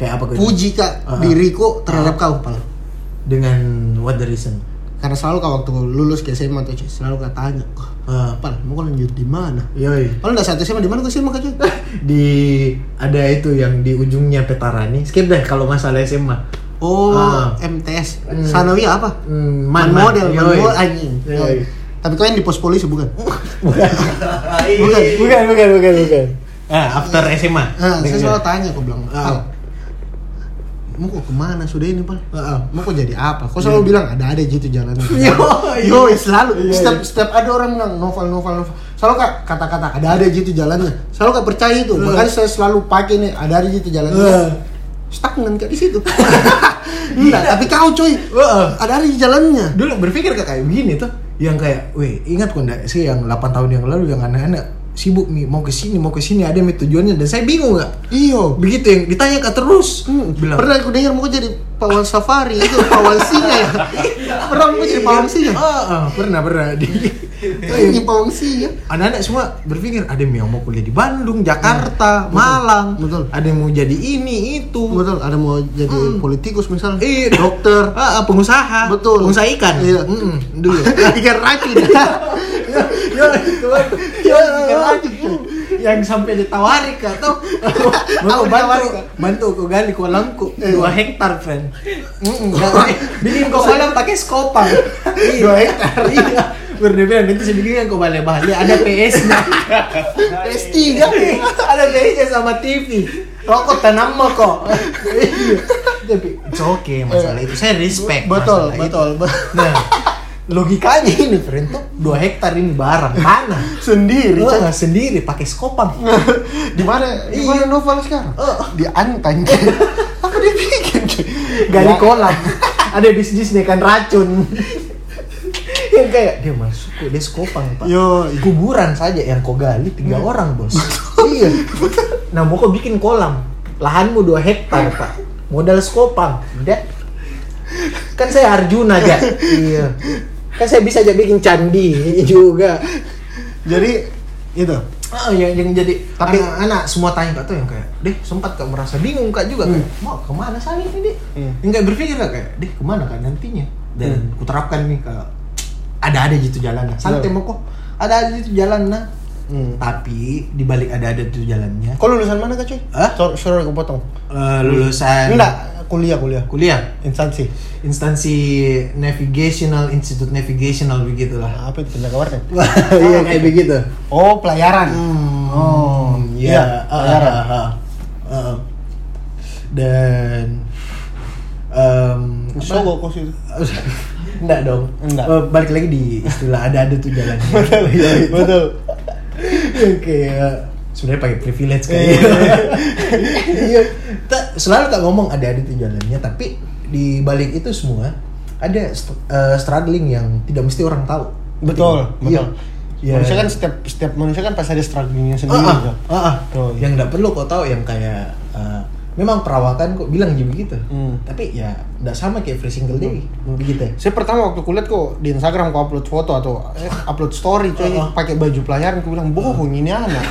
Speaker 2: Kayak apa? Puji
Speaker 3: Puji kak
Speaker 2: Ah.
Speaker 3: diriku terhadap kau, pal.
Speaker 2: dengan what the reason?
Speaker 3: karena selalu kalau waktu lulus ke SMA tuh cuy selalu gak tanya oh,
Speaker 2: Ah.
Speaker 3: pal mau kau lanjut di mana
Speaker 2: Yoi.
Speaker 3: Kalau udah satu SMA di mana tuh SMA cuy?
Speaker 2: Di ada itu yang di ujungnya petarani. Skip deh kalau masalah SMA.
Speaker 3: Oh,
Speaker 2: Ah.
Speaker 3: MTS.
Speaker 2: Hmm.
Speaker 3: Sanawiyah apa?
Speaker 2: Hmm,
Speaker 3: Man, model, man
Speaker 2: Yoi.
Speaker 3: model anjing.
Speaker 2: Yoi.
Speaker 3: Tapi kau yang di pos polisi bukan? Ah, iya,
Speaker 2: bukan, bukan, bukan, bukan, bukan. Ah, after SMA.
Speaker 3: Nah, saya
Speaker 2: Dengar.
Speaker 3: selalu tanya kau bilang,
Speaker 2: Iya. Ah.
Speaker 3: "Pal, mau kok kemana sudah ini pal?
Speaker 2: Ah, ah.
Speaker 3: Mau kok jadi apa? Kau selalu bilang ada ada gitu jalan.
Speaker 2: Yoi.
Speaker 3: yo, selalu.
Speaker 2: Iya,
Speaker 3: setiap setiap ada orang bilang novel novel novel. Selalu kak kata-kata ada ada gitu jalannya. Selalu kak percaya itu.
Speaker 2: Ah.
Speaker 3: Makanya saya selalu pakai nih ada ada gitu jalannya.
Speaker 2: Ah.
Speaker 3: Stagnan kak di situ. Enggak, tapi kau coy.
Speaker 2: Ah.
Speaker 3: Ada ada jalannya.
Speaker 2: dulu berpikir kayak kayak begini tuh yang kayak weh ingat kok ndak sih yang 8 tahun yang lalu yang anak-anak sibuk mi mau ke sini mau ke sini ada mi tujuannya dan saya bingung nggak
Speaker 3: Iyo.
Speaker 2: begitu yang ditanya kak terus bilang
Speaker 3: Iya. Hmm, Pernah aku dengar mau jadi pawan safari itu pawan singa ya. Pernah mau jadi pawan singa.
Speaker 2: "Ah, ah, pernah pernah di Iya.
Speaker 3: Ini pawan singa.
Speaker 2: anak-anak semua berpikir ada yang mau kuliah di Bandung Jakarta Malang
Speaker 3: Iya. betul.
Speaker 2: ada yang mau jadi ini itu
Speaker 3: Betul, ada mau jadi
Speaker 2: Hmm.
Speaker 3: politikus misalnya.
Speaker 2: Iya.
Speaker 3: dokter.
Speaker 2: Ah, ah, pengusaha
Speaker 3: Betul.
Speaker 2: pengusaha ikan
Speaker 3: Iya.
Speaker 2: Mm-mm, dulu
Speaker 3: Ikan racun.
Speaker 2: ya itu kan. ya bikin lanjut tuh. yang sampai ditawari kak tau mau
Speaker 3: Aku ditawari,
Speaker 2: bantu
Speaker 3: Kak.
Speaker 2: bantu aku gali kolamku
Speaker 3: Iya.
Speaker 2: dua hektar friend Mm-mm, nggak, bikin kau kolam pakai skopang Iya.
Speaker 3: Dua hektar.
Speaker 2: iya berdebatan nanti saya bikin kau balik balik ada PS nya
Speaker 3: S3.
Speaker 2: kan? ada PS nya sama TV rokok tanam mah kok Iya. tapi it's okay masalah itu saya respect
Speaker 3: Betul,
Speaker 2: masalah itu.
Speaker 3: betul. be-
Speaker 2: nah logikanya ini friend tuh dua hektar ini barang tanah
Speaker 3: Sendiri.
Speaker 2: Lu
Speaker 3: Cak.
Speaker 2: nggak sendiri pakai Iya. skopang.
Speaker 3: Di mana? Di mana Noval sekarang?
Speaker 2: Oh.
Speaker 3: Di Antan. Cak. Apa dia bikin? Cak?
Speaker 2: Gali
Speaker 3: Ya.
Speaker 2: kolam. Ada bisnis ikan racun. yang kayak dia masuk kok dia skopang pak.
Speaker 3: Yo.
Speaker 2: Kuburan saja yang kau gali tiga orang bos. iya. Nah mau kau bikin kolam. Lahanmu dua hektar pak. Modal skopang. Udah. Kan saya Arjuna aja. iya. Kan saya bisa aja bikin candi juga.
Speaker 3: Jadi itu.
Speaker 2: Ah, yang, yang jadi
Speaker 3: Tapi-
Speaker 2: anak-anak semua tanya kak tuh yang kayak, deh sempat kak merasa bingung kak juga kayak, mau kemana saya ini deh?
Speaker 3: Hmm.
Speaker 2: Yang kayak berpikir kak kayak, deh kemana kak nantinya? Dan kuterapkan nih kak, ada-ada gitu jalannya. Santai
Speaker 3: Betul.
Speaker 2: mau kok, ada-ada gitu jalannya.
Speaker 3: Hmm.
Speaker 2: Tapi di balik ada-ada itu jalannya,
Speaker 3: Kau lulusan mana kak cuy?
Speaker 2: Hah?
Speaker 3: Sorry, sorry aku potong.
Speaker 2: eh, lulusan
Speaker 3: Enggak, kuliah kuliah.
Speaker 2: kuliah
Speaker 3: Instansi.
Speaker 2: instansi navigational institute navigational begitulah.
Speaker 3: Apa itu penjaga warnet?
Speaker 2: Iya kayak begitu.
Speaker 3: Oh, pelayaran.
Speaker 2: Oh,
Speaker 3: iya,
Speaker 2: iya, ah,
Speaker 3: benar.
Speaker 2: ah, ah, ah. dan em
Speaker 3: So
Speaker 2: apa?
Speaker 3: gua kos itu.
Speaker 2: enggak dong.
Speaker 3: Enggak.
Speaker 2: Eh, balik lagi di istilah ada-ada tuh jalannya. Iya,
Speaker 3: Betul.
Speaker 2: Oke, ya. sebenarnya pakai privilege kan.
Speaker 3: Iya.
Speaker 2: kayaknya. Iya. Tak- selalu tak ngomong ada-ada tuh jalannya, tapi di balik itu semua ada st- eh, struggling yang tidak mesti orang tahu.
Speaker 3: Betul,
Speaker 2: Iya.
Speaker 3: betul.
Speaker 2: Iya.
Speaker 3: Manusia kan setiap setiap manusia kan pasti ada strugglingnya sendiri. gitu. iya.
Speaker 2: Ah, ah,
Speaker 3: Kak.
Speaker 2: ah, ah.
Speaker 3: Tuh.
Speaker 2: yang nggak perlu kau tahu yang kayak eh, memang perawakan kok bilang juga gitu
Speaker 3: Hmm.
Speaker 2: tapi ya nggak sama kayak free single day begitu ya
Speaker 3: Saya pertama waktu kulihat kok di Instagram kok upload foto atau eh, upload story coy
Speaker 2: Uh-uh.
Speaker 3: pakai baju pelayaran aku bilang bohong ini anak.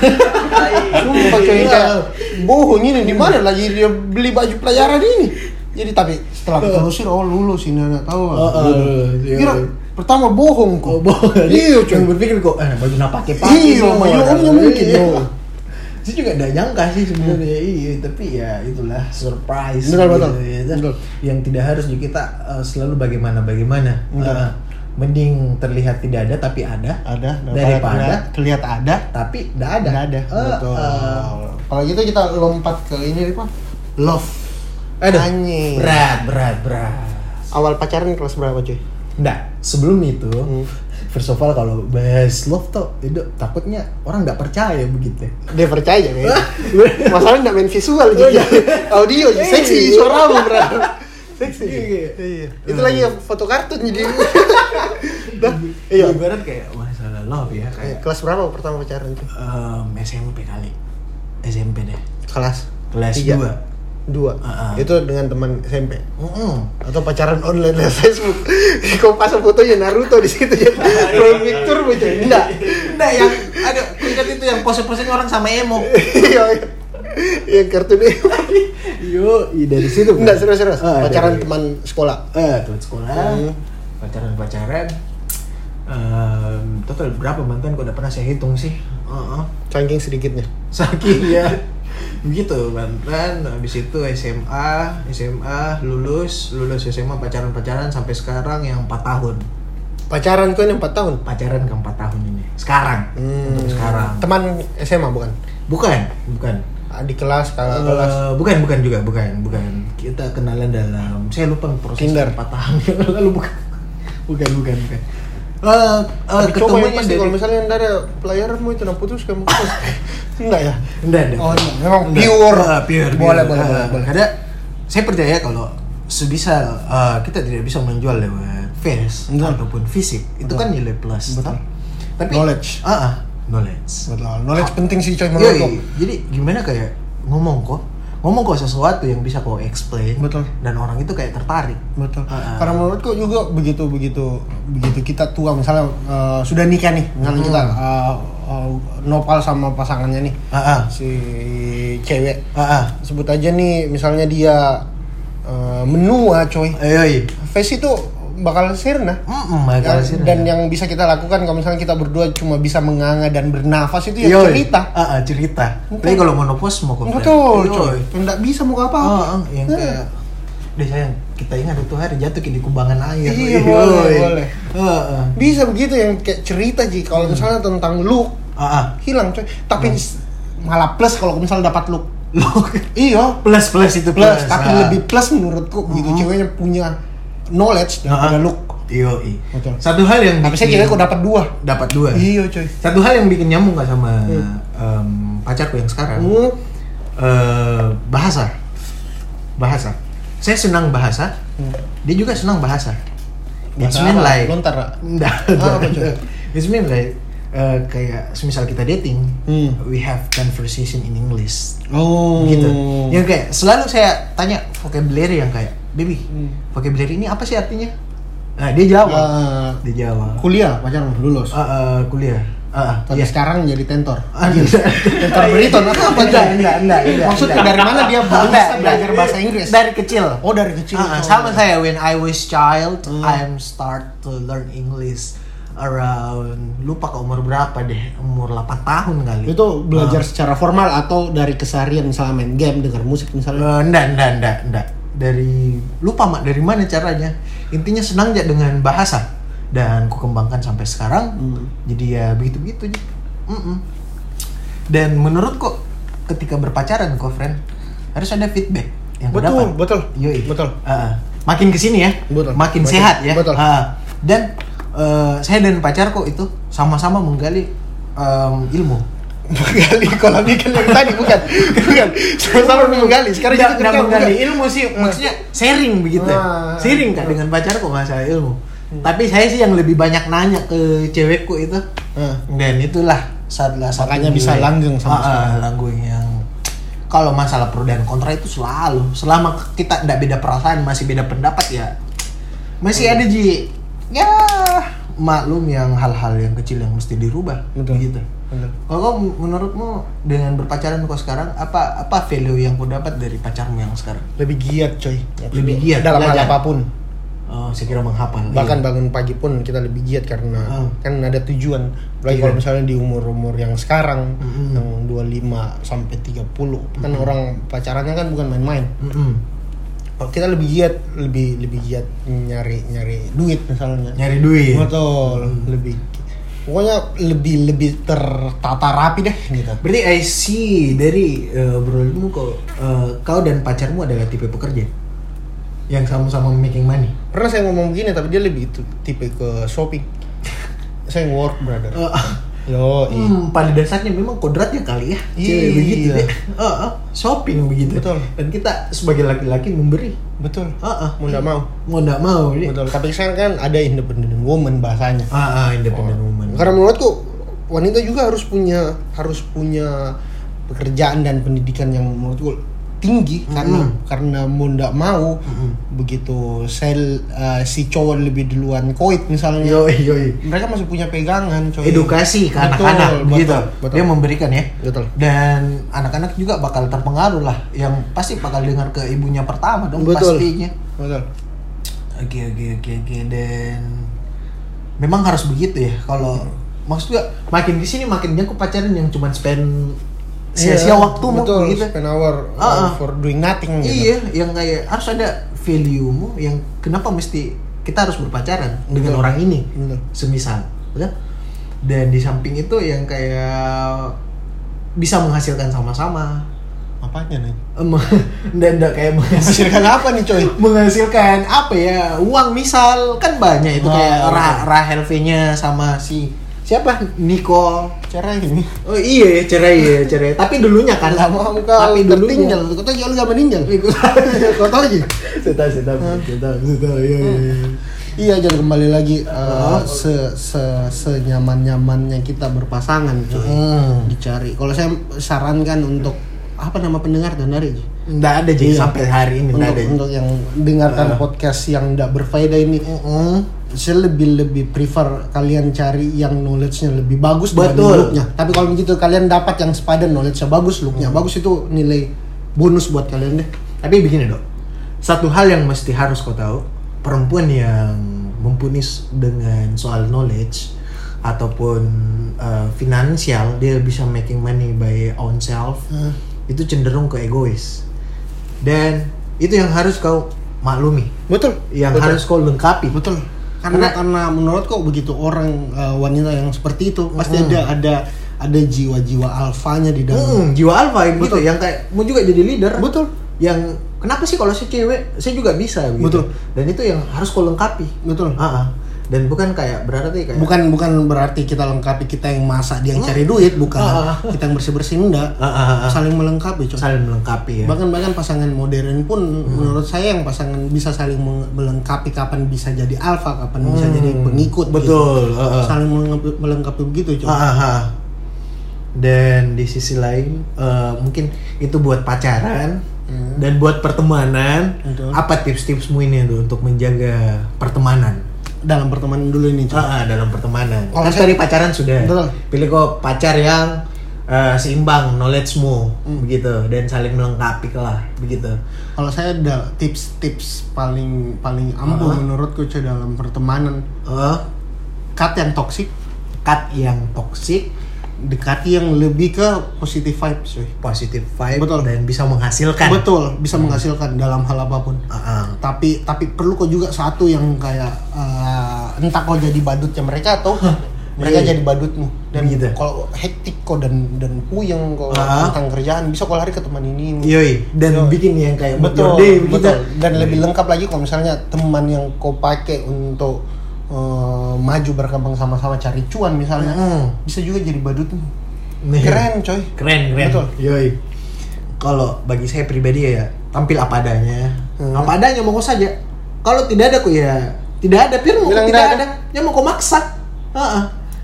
Speaker 3: Sumpah
Speaker 2: Ah,
Speaker 3: coy
Speaker 2: Iya.
Speaker 3: kayak bohong ini di mana lagi dia beli baju pelayaran ini. Jadi tapi
Speaker 2: Ah,
Speaker 3: setelah aku telusur oh lulus ini anak tahu. Kak.
Speaker 2: Uh-uh,
Speaker 3: Gitu.
Speaker 2: lulus, iya.
Speaker 3: Kira pertama bohong kok. Iya
Speaker 2: iya
Speaker 3: coy.
Speaker 2: cuma berpikir kok eh baju nggak pakai pakai
Speaker 3: Iya,
Speaker 2: semua
Speaker 3: iya,
Speaker 2: orang.
Speaker 3: iya, mungkin,
Speaker 2: Iya.
Speaker 3: iya.
Speaker 2: saya juga nggak nyangka sih sebenarnya iya tapi ya itulah surprise
Speaker 3: Betul, betul.
Speaker 2: ya.
Speaker 3: Betul.
Speaker 2: yang tidak harus juga kita eh, selalu bagaimana bagaimana
Speaker 3: Betul.
Speaker 2: Eh, mending terlihat tidak ada tapi ada
Speaker 3: Ada
Speaker 2: daripada
Speaker 3: terlihat ada
Speaker 2: tapi nggak ada
Speaker 3: Nggak ada.
Speaker 2: Eh,
Speaker 3: Betul.
Speaker 2: eh,
Speaker 3: Kalau gitu kita lompat ke ini apa? Love.
Speaker 2: Aduh.
Speaker 3: Anjing.
Speaker 2: Berat, berat, berat.
Speaker 3: Awal pacaran kelas berapa cuy?
Speaker 2: Nah, sebelum itu,
Speaker 3: Hmm.
Speaker 2: first of all kalau bahas love tuh, itu takutnya orang nggak percaya begitu.
Speaker 3: Dia percaya kayaknya. Masalahnya nggak main visual juga. Audio, aja. seksi
Speaker 2: Oh, Iya.
Speaker 3: suaramu berarti. Seksi.
Speaker 2: Iya.
Speaker 3: Iya. Itu lagi foto kartun jadi. Dah.
Speaker 2: Iya.
Speaker 3: Iya.
Speaker 2: Ibarat kayak masalah love ya, kayak
Speaker 3: Eh,
Speaker 2: um,
Speaker 3: Kelas berapa pertama pacaran tuh?
Speaker 2: em, SMP kali, SMP deh,
Speaker 3: Kelas
Speaker 2: kelas
Speaker 3: Tiga.
Speaker 2: 2
Speaker 3: dua.
Speaker 2: Ah, ah.
Speaker 3: Itu dengan teman SMP
Speaker 2: Mm
Speaker 3: atau pacaran online lewat Facebook. Kau pasang fotonya Naruto di situ ya. Profile picture bocah. Enggak.
Speaker 2: Nah, yang ada ingat itu yang pose-pose orang sama emo.
Speaker 3: Iya. iya. Yang kartun itu.
Speaker 2: Yo, dari situ.
Speaker 3: Enggak serius-serius.
Speaker 2: Ah,
Speaker 3: pacaran
Speaker 2: dari-
Speaker 3: teman sekolah.
Speaker 2: Eh, teman sekolah.
Speaker 3: Hmm.
Speaker 2: pacaran pacaran Um, total berapa mantan kok udah pernah saya hitung sih Heeh.
Speaker 3: Cangking sedikitnya.
Speaker 2: saking ya begitu mantan habis itu SMA SMA lulus lulus SMA pacaran pacaran sampai sekarang yang 4 tahun
Speaker 3: Pacaran kan yang 4 tahun.
Speaker 2: pacaran ke 4 tahun ini sekarang
Speaker 3: Hmm.
Speaker 2: untuk sekarang
Speaker 3: Teman SMA bukan?
Speaker 2: bukan bukan
Speaker 3: Di kelas, kakak kelas.
Speaker 2: Eh, bukan bukan juga bukan bukan kita kenalan dalam saya lupa proses
Speaker 3: Tinder.
Speaker 2: 4 tahun yang lalu bukan bukan bukan bukan Eh, eh,
Speaker 3: Tapi cowok
Speaker 2: ketemunya
Speaker 3: yang pasti
Speaker 2: dari-
Speaker 3: kalau misalnya nggak ada pelayaranmu itu nah putus kamu putus. Enggak ya?
Speaker 2: Enggak, enggak.
Speaker 3: Oh, enggak. memang
Speaker 2: Enggak.
Speaker 3: pure.
Speaker 2: Ah, pure.
Speaker 3: Boleh,
Speaker 2: pure.
Speaker 3: boleh,
Speaker 2: Ah,
Speaker 3: boleh, boleh.
Speaker 2: Karena saya percaya kalau sebisa ah, kita tidak bisa menjual lewat face
Speaker 3: Betul.
Speaker 2: ataupun fisik, itu
Speaker 3: Betul.
Speaker 2: kan nilai plus.
Speaker 3: Betul.
Speaker 2: Tapi
Speaker 3: Knowledge.
Speaker 2: Ah, ah, knowledge.
Speaker 3: Betul. Knowledge penting sih coy
Speaker 2: Yoi,
Speaker 3: menurutku.
Speaker 2: Iya, jadi gimana kayak ngomong kok, ngomong kok sesuatu yang bisa kau explain
Speaker 3: Betul.
Speaker 2: dan orang itu kayak tertarik.
Speaker 3: betul
Speaker 2: Ah, ah.
Speaker 3: karena menurutku juga begitu begitu begitu kita tua misalnya eh, sudah nikah nih
Speaker 2: Hmm.
Speaker 3: misalnya kita eh, eh, nopal sama pasangannya nih
Speaker 2: Ah, ah.
Speaker 3: si cewek
Speaker 2: Ah, ah.
Speaker 3: sebut aja nih misalnya dia eh, menua coy
Speaker 2: Yoi.
Speaker 3: face itu bakal sirna
Speaker 2: Mm-mm, agak
Speaker 3: Dan-
Speaker 2: sih,
Speaker 3: dan
Speaker 2: ya.
Speaker 3: yang bisa kita lakukan kalau misalnya kita berdua cuma bisa menganga dan bernafas itu ya
Speaker 2: Yoi.
Speaker 3: cerita
Speaker 2: Ah, ah, cerita.
Speaker 3: Betul.
Speaker 2: Tapi kalau monopos mau kau
Speaker 3: betul
Speaker 2: bilang,
Speaker 3: coy
Speaker 2: yoi.
Speaker 3: nggak bisa Nah, mau apa
Speaker 2: Oh, oh, yang kayak Deh sayang, kita ingat itu hari jatuh di kubangan air Wih,
Speaker 3: Iya, boleh,
Speaker 2: woi.
Speaker 3: boleh.
Speaker 2: Ah, ah.
Speaker 3: bisa begitu yang kayak cerita ji kalau
Speaker 2: Hmm.
Speaker 3: misalnya tentang look
Speaker 2: Ah, ah.
Speaker 3: hilang coy tapi s-
Speaker 2: Hmm.
Speaker 3: malah plus kalau misalnya dapat look
Speaker 2: Loh,
Speaker 3: iya
Speaker 2: Plus, plus itu
Speaker 3: plus tapi
Speaker 2: ah.
Speaker 3: lebih plus menurutku gitu ceweknya punya knowledge
Speaker 2: Ah,
Speaker 3: daripada
Speaker 2: ah.
Speaker 3: look
Speaker 2: Yoi.
Speaker 3: Betul.
Speaker 2: Satu hal yang
Speaker 3: tapi saya
Speaker 2: bikin-
Speaker 3: cewek kok dapat dua
Speaker 2: dapat dua
Speaker 3: iya coy
Speaker 2: Satu hal yang bikin nyambung gak sama em, pacarku yang sekarang
Speaker 3: Hmm.
Speaker 2: eh, Bahasa Bahasa Saya senang bahasa Dia juga senang bahasa It's
Speaker 3: Hmm. Bahasa
Speaker 2: mean
Speaker 3: apa?
Speaker 2: like
Speaker 3: lontar Ra?
Speaker 2: Nggak.
Speaker 3: Ah, apa, cuy?
Speaker 2: It's mean like eh, kayak semisal kita dating,
Speaker 3: Hmm.
Speaker 2: we have conversation in English
Speaker 3: oh
Speaker 2: gitu. Yang kayak selalu saya tanya vocabulary yang kayak, "Baby,
Speaker 3: Hmm.
Speaker 2: vocabulary ini apa sih artinya?" Nah, dia jawab.
Speaker 3: Eh,
Speaker 2: dia jawab.
Speaker 3: kuliah pacar lulus
Speaker 2: Eh, eh, kuliah. Heeh.
Speaker 3: tapi sekarang jadi tentor Iya.
Speaker 2: Enggak,
Speaker 3: tentor Briton atau apa
Speaker 2: enggak,
Speaker 3: Ji?
Speaker 2: enggak, enggak, enggak.
Speaker 3: maksudnya
Speaker 2: enggak.
Speaker 3: dari mana dia
Speaker 2: Enggak,
Speaker 3: bisa
Speaker 2: enggak.
Speaker 3: belajar bahasa Inggris
Speaker 2: Dari kecil.
Speaker 3: oh iya. dari kecil
Speaker 2: Ah,
Speaker 3: coy.
Speaker 2: sama saya when I was child
Speaker 3: Hmm.
Speaker 2: I am start to learn English around lupa ke umur berapa deh umur 8 tahun kali
Speaker 3: itu belajar secara formal atau dari keseharian misalnya main game dengar musik misalnya
Speaker 2: Eh, enggak enggak enggak enggak dari lupa mak dari mana caranya intinya senang aja dengan bahasa dan ku kembangkan sampai sekarang
Speaker 3: Hmm.
Speaker 2: jadi ya begitu begitu aja Mm-mm. dan menurutku ketika berpacaran kok friend harus ada feedback yang kau dapat.
Speaker 3: betul
Speaker 2: Yoi.
Speaker 3: betul
Speaker 2: Ah, ah. makin kesini ya,
Speaker 3: Betul.
Speaker 2: makin
Speaker 3: Betul.
Speaker 2: sehat ya.
Speaker 3: Betul.
Speaker 2: Ah, dan eh, saya dan pacarku itu sama-sama menggali em, ilmu.
Speaker 3: menggali kolam ikan yang tadi bukan bukan sama-sama menggali sekarang
Speaker 2: Nggak-
Speaker 3: jadi
Speaker 2: nggak
Speaker 3: kita
Speaker 2: menggali ilmu sih, maksudnya sharing begitu. ya.
Speaker 3: Ah. Hmm.
Speaker 2: Sharing kan dengan pacarku masalah ilmu. Tapi saya sih yang lebih banyak nanya ke cewekku itu.
Speaker 3: Ah.
Speaker 2: Dan itulah salah satu
Speaker 3: Makanya
Speaker 2: nilai-
Speaker 3: bisa langgeng sama
Speaker 2: Ah, ah, langgeng yang kalau masalah pro dan kontra itu selalu selama kita tidak beda perasaan masih beda pendapat ya masih
Speaker 3: Hmm.
Speaker 2: ada ji ya maklum yang hal-hal yang kecil yang mesti dirubah
Speaker 3: Betul.
Speaker 2: gitu
Speaker 3: Betul.
Speaker 2: kalau kau menurutmu dengan berpacaran kau sekarang apa apa value yang kau dapat dari pacarmu yang sekarang
Speaker 3: lebih giat coy
Speaker 2: Lebih giat,
Speaker 3: dalam hal
Speaker 2: belajar.
Speaker 3: apapun
Speaker 2: oh saya kira menghafal
Speaker 3: bahkan bangun pagi pun kita lebih giat karena
Speaker 2: Hmm.
Speaker 3: kan ada tujuan apalagi
Speaker 2: Iya.
Speaker 3: kalau misalnya di umur-umur yang sekarang
Speaker 2: Mm-mm.
Speaker 3: yang 25 sampai 30 kan orang pacarannya kan bukan main-main
Speaker 2: Mm-mm.
Speaker 3: kalau kita lebih giat lebih lebih giat nyari nyari duit misalnya
Speaker 2: nyari duit
Speaker 3: betul lebih pokoknya lebih lebih tertata rapi deh gitu
Speaker 2: berarti I see dari eh, obrolanmu kau eh, kau dan pacarmu adalah tipe pekerja yang sama-sama making money
Speaker 3: pernah saya ngomong begini tapi dia lebih itu tipe ke shopping saya work brother
Speaker 2: Eh,
Speaker 3: yo
Speaker 2: Hmm, pada dasarnya memang kodratnya kali ya.
Speaker 3: Iya.
Speaker 2: Cewek begitu deh. Heeh, shopping begitu.
Speaker 3: Betul.
Speaker 2: Dan kita sebagai laki-laki memberi.
Speaker 3: betul
Speaker 2: Heeh.
Speaker 3: mau nggak mau
Speaker 2: Mau enggak mau. Heeh,
Speaker 3: betul tapi sekarang kan ada independent woman bahasanya
Speaker 2: ah, ah, independent woman.
Speaker 3: Oh. karena menurutku wanita juga harus punya harus punya pekerjaan dan pendidikan yang menurutku tinggi karena
Speaker 2: Mm-mm.
Speaker 3: karena mau ndak mau
Speaker 2: Mm-mm.
Speaker 3: begitu sel eh, si cowok lebih duluan koit misalnya
Speaker 2: Yoi, yoi.
Speaker 3: mereka masih punya pegangan coy
Speaker 2: Edukasi ke
Speaker 3: Betul,
Speaker 2: anak-anak
Speaker 3: betul,
Speaker 2: begitu.
Speaker 3: betul.
Speaker 2: Dia memberikan ya.
Speaker 3: Betul.
Speaker 2: Dan anak-anak juga bakal terpengaruh lah. Yang pasti bakal dengar ke ibunya pertama dong
Speaker 3: Betul.
Speaker 2: pastinya.
Speaker 3: betul
Speaker 2: Oke oke oke oke dan memang harus begitu ya kalau maksudnya makin di sini makin aku pacaran yang cuma spend sia-sia waktu mau
Speaker 3: Iya, betul,
Speaker 2: gitu.
Speaker 3: spend hour uh,
Speaker 2: Ah, ah.
Speaker 3: for doing nothing gitu.
Speaker 2: Iya, yang kayak harus ada value-mu yang kenapa mesti kita harus berpacaran dengan
Speaker 3: Betul.
Speaker 2: orang ini.
Speaker 3: Betul.
Speaker 2: Semisal, ya. Dan di samping itu yang kayak bisa menghasilkan sama-sama.
Speaker 3: Apanya nih?
Speaker 2: Em, Dan enggak kayak menghasilkan
Speaker 3: Menghasilkan apa nih coy?
Speaker 2: menghasilkan apa ya uang misal kan banyak itu
Speaker 3: Wah,
Speaker 2: kayak Ra-
Speaker 3: betul.
Speaker 2: Rahel V-nya sama si siapa Nicole
Speaker 3: Cara ini.
Speaker 2: oh iya cerai ya cerai tapi dulunya kan
Speaker 3: Gak mau kau
Speaker 2: tapi dulunya
Speaker 3: tertinggal. Kau tahu ya lu gak meninggal. Kau tahu lagi?
Speaker 2: Sudah, sudah, sudah, sudah, iya, iya, iya.
Speaker 3: Iya, jadi kembali lagi eh,
Speaker 2: Oh.
Speaker 3: se se senyaman nyamannya kita berpasangan, coy.
Speaker 2: Hmm.
Speaker 3: Dicari. Kalau saya sarankan untuk apa nama pendengar dan hari Ji?
Speaker 2: Nggak ada jadi
Speaker 3: Iya. Hmm.
Speaker 2: sampai hari ini nggak
Speaker 3: untuk,
Speaker 2: ada.
Speaker 3: untuk yang dengarkan podcast yang tidak berfaedah ini saya lebih lebih prefer kalian cari yang knowledge-nya lebih bagus
Speaker 2: Betul.
Speaker 3: dibanding look-nya tapi kalau begitu kalian dapat yang sepadan knowledge-nya bagus look-nya bagus itu nilai bonus buat kalian deh
Speaker 2: Tapi begini dok, satu hal yang mesti harus kau tahu, perempuan yang mempunyai s- dengan soal knowledge ataupun uh, finansial dia bisa making money by own self
Speaker 3: Hmm.
Speaker 2: itu cenderung ke egois dan itu yang harus kau maklumi
Speaker 3: betul
Speaker 2: yang
Speaker 3: Betul.
Speaker 2: harus kau lengkapi
Speaker 3: betul karena karena menurutku begitu orang eh, wanita yang seperti itu pasti ada ada ada jiwa-jiwa alfanya di dalam
Speaker 2: Mm, jiwa alfa yang gitu yang kayak mau juga jadi leader
Speaker 3: Betul.
Speaker 2: yang kenapa sih kalau saya cewek saya juga bisa gitu
Speaker 3: Betul.
Speaker 2: dan itu yang harus kau lengkapi
Speaker 3: betul
Speaker 2: Ah, ah. dan bukan kayak berarti kayak
Speaker 3: bukan bukan berarti kita lengkapi kita yang masak dia yang cari duit bukan
Speaker 2: Mm. Ah, ah,
Speaker 3: kita yang bersih bersih enggak
Speaker 2: Ah, ah, ah.
Speaker 3: saling melengkapi coy
Speaker 2: saling melengkapi ya Mm.
Speaker 3: bahkan bahkan pasangan modern pun menurut saya yang pasangan bisa saling meng- melengkapi kapan bisa jadi alfa kapan bisa jadi pengikut gitu.
Speaker 2: Mm. betul ah, ah.
Speaker 3: saling melengkapi, melengkapi begitu coy
Speaker 2: Ah, ah, ah. dan di sisi lain eh, mungkin itu buat pacaran dan buat pertemanan
Speaker 3: Hmm. Betul.
Speaker 2: apa tips-tipsmu ini tuh untuk menjaga pertemanan
Speaker 3: dalam pertemanan dulu ini coy
Speaker 2: Ah, ah, dalam pertemanan.
Speaker 3: Kalau
Speaker 2: kan
Speaker 3: saya-
Speaker 2: tadi pacaran sudah.
Speaker 3: Betul.
Speaker 2: Pilih kok pacar yang eh, seimbang knowledge-mu
Speaker 3: Hmm.
Speaker 2: begitu dan saling melengkapi lah begitu.
Speaker 3: kalau saya ada tips-tips paling paling ampuh menurutku coy dalam pertemanan
Speaker 2: Eh,
Speaker 3: cut yang toksik
Speaker 2: cut yang toxic,
Speaker 3: dekati yang lebih ke positive vibes coy
Speaker 2: positive vibe
Speaker 3: Betul.
Speaker 2: dan bisa menghasilkan.
Speaker 3: betul bisa menghasilkan dalam hal apapun
Speaker 2: Hmm. Ah, ah.
Speaker 3: tapi tapi perlu kok juga satu yang kayak eh, entah kau jadi badutnya mereka atau mereka
Speaker 2: Iya.
Speaker 3: jadi badutmu dan
Speaker 2: Gitu.
Speaker 3: kalau hektik kok dan dan puyeng kok
Speaker 2: Ah.
Speaker 3: tentang kerjaan bisa kok lari ke teman ini ini.
Speaker 2: Yoi, dan
Speaker 3: Yoi.
Speaker 2: bikin yang kayak mood your
Speaker 3: betul
Speaker 2: day gitu. begitu.
Speaker 3: betul dan lebih lengkap lagi kalau misalnya teman yang kau pakai untuk eh, maju berkembang sama-sama cari cuan misalnya
Speaker 2: Mm.
Speaker 3: bisa juga jadi badutmu
Speaker 2: Nih.
Speaker 3: keren coy
Speaker 2: Keren, keren.
Speaker 3: Betul.
Speaker 2: Yoi. Kalau bagi saya pribadi ya tampil apa adanya. Apa adanya mau kau saja. Kalau tidak ada kok ya tidak ada pir mau kau
Speaker 3: Bilang
Speaker 2: tidak
Speaker 3: tidak
Speaker 2: ada. Ya mau kau maksa. Heeh.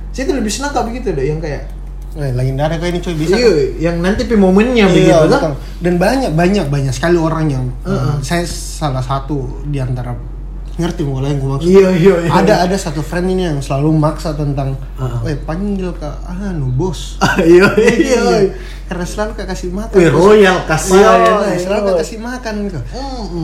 Speaker 2: Saya tuh lebih senang kalau begitu deh yang kayak
Speaker 3: eh, lagi nggak ada kayak ini coy bisa
Speaker 2: iya yang nanti pi momennya begitu
Speaker 3: Iya,
Speaker 2: kan?
Speaker 3: betul. Dan banyak banyak banyak sekali orang yang
Speaker 2: Hmm.
Speaker 3: eh, saya salah satu di antara ngerti mulai yang gue maksud.
Speaker 2: Iya, iya, iya.
Speaker 3: Ada ada satu friend ini yang selalu maksa tentang
Speaker 2: Heeh.
Speaker 3: eh panggil ke anu bos.
Speaker 2: Hmm. Iya, iya.
Speaker 3: Iya. Karena selalu kak kasih makan.
Speaker 2: Wih, royal
Speaker 3: Iya,
Speaker 2: kasihan.
Speaker 3: selalu kak kasih makan kak.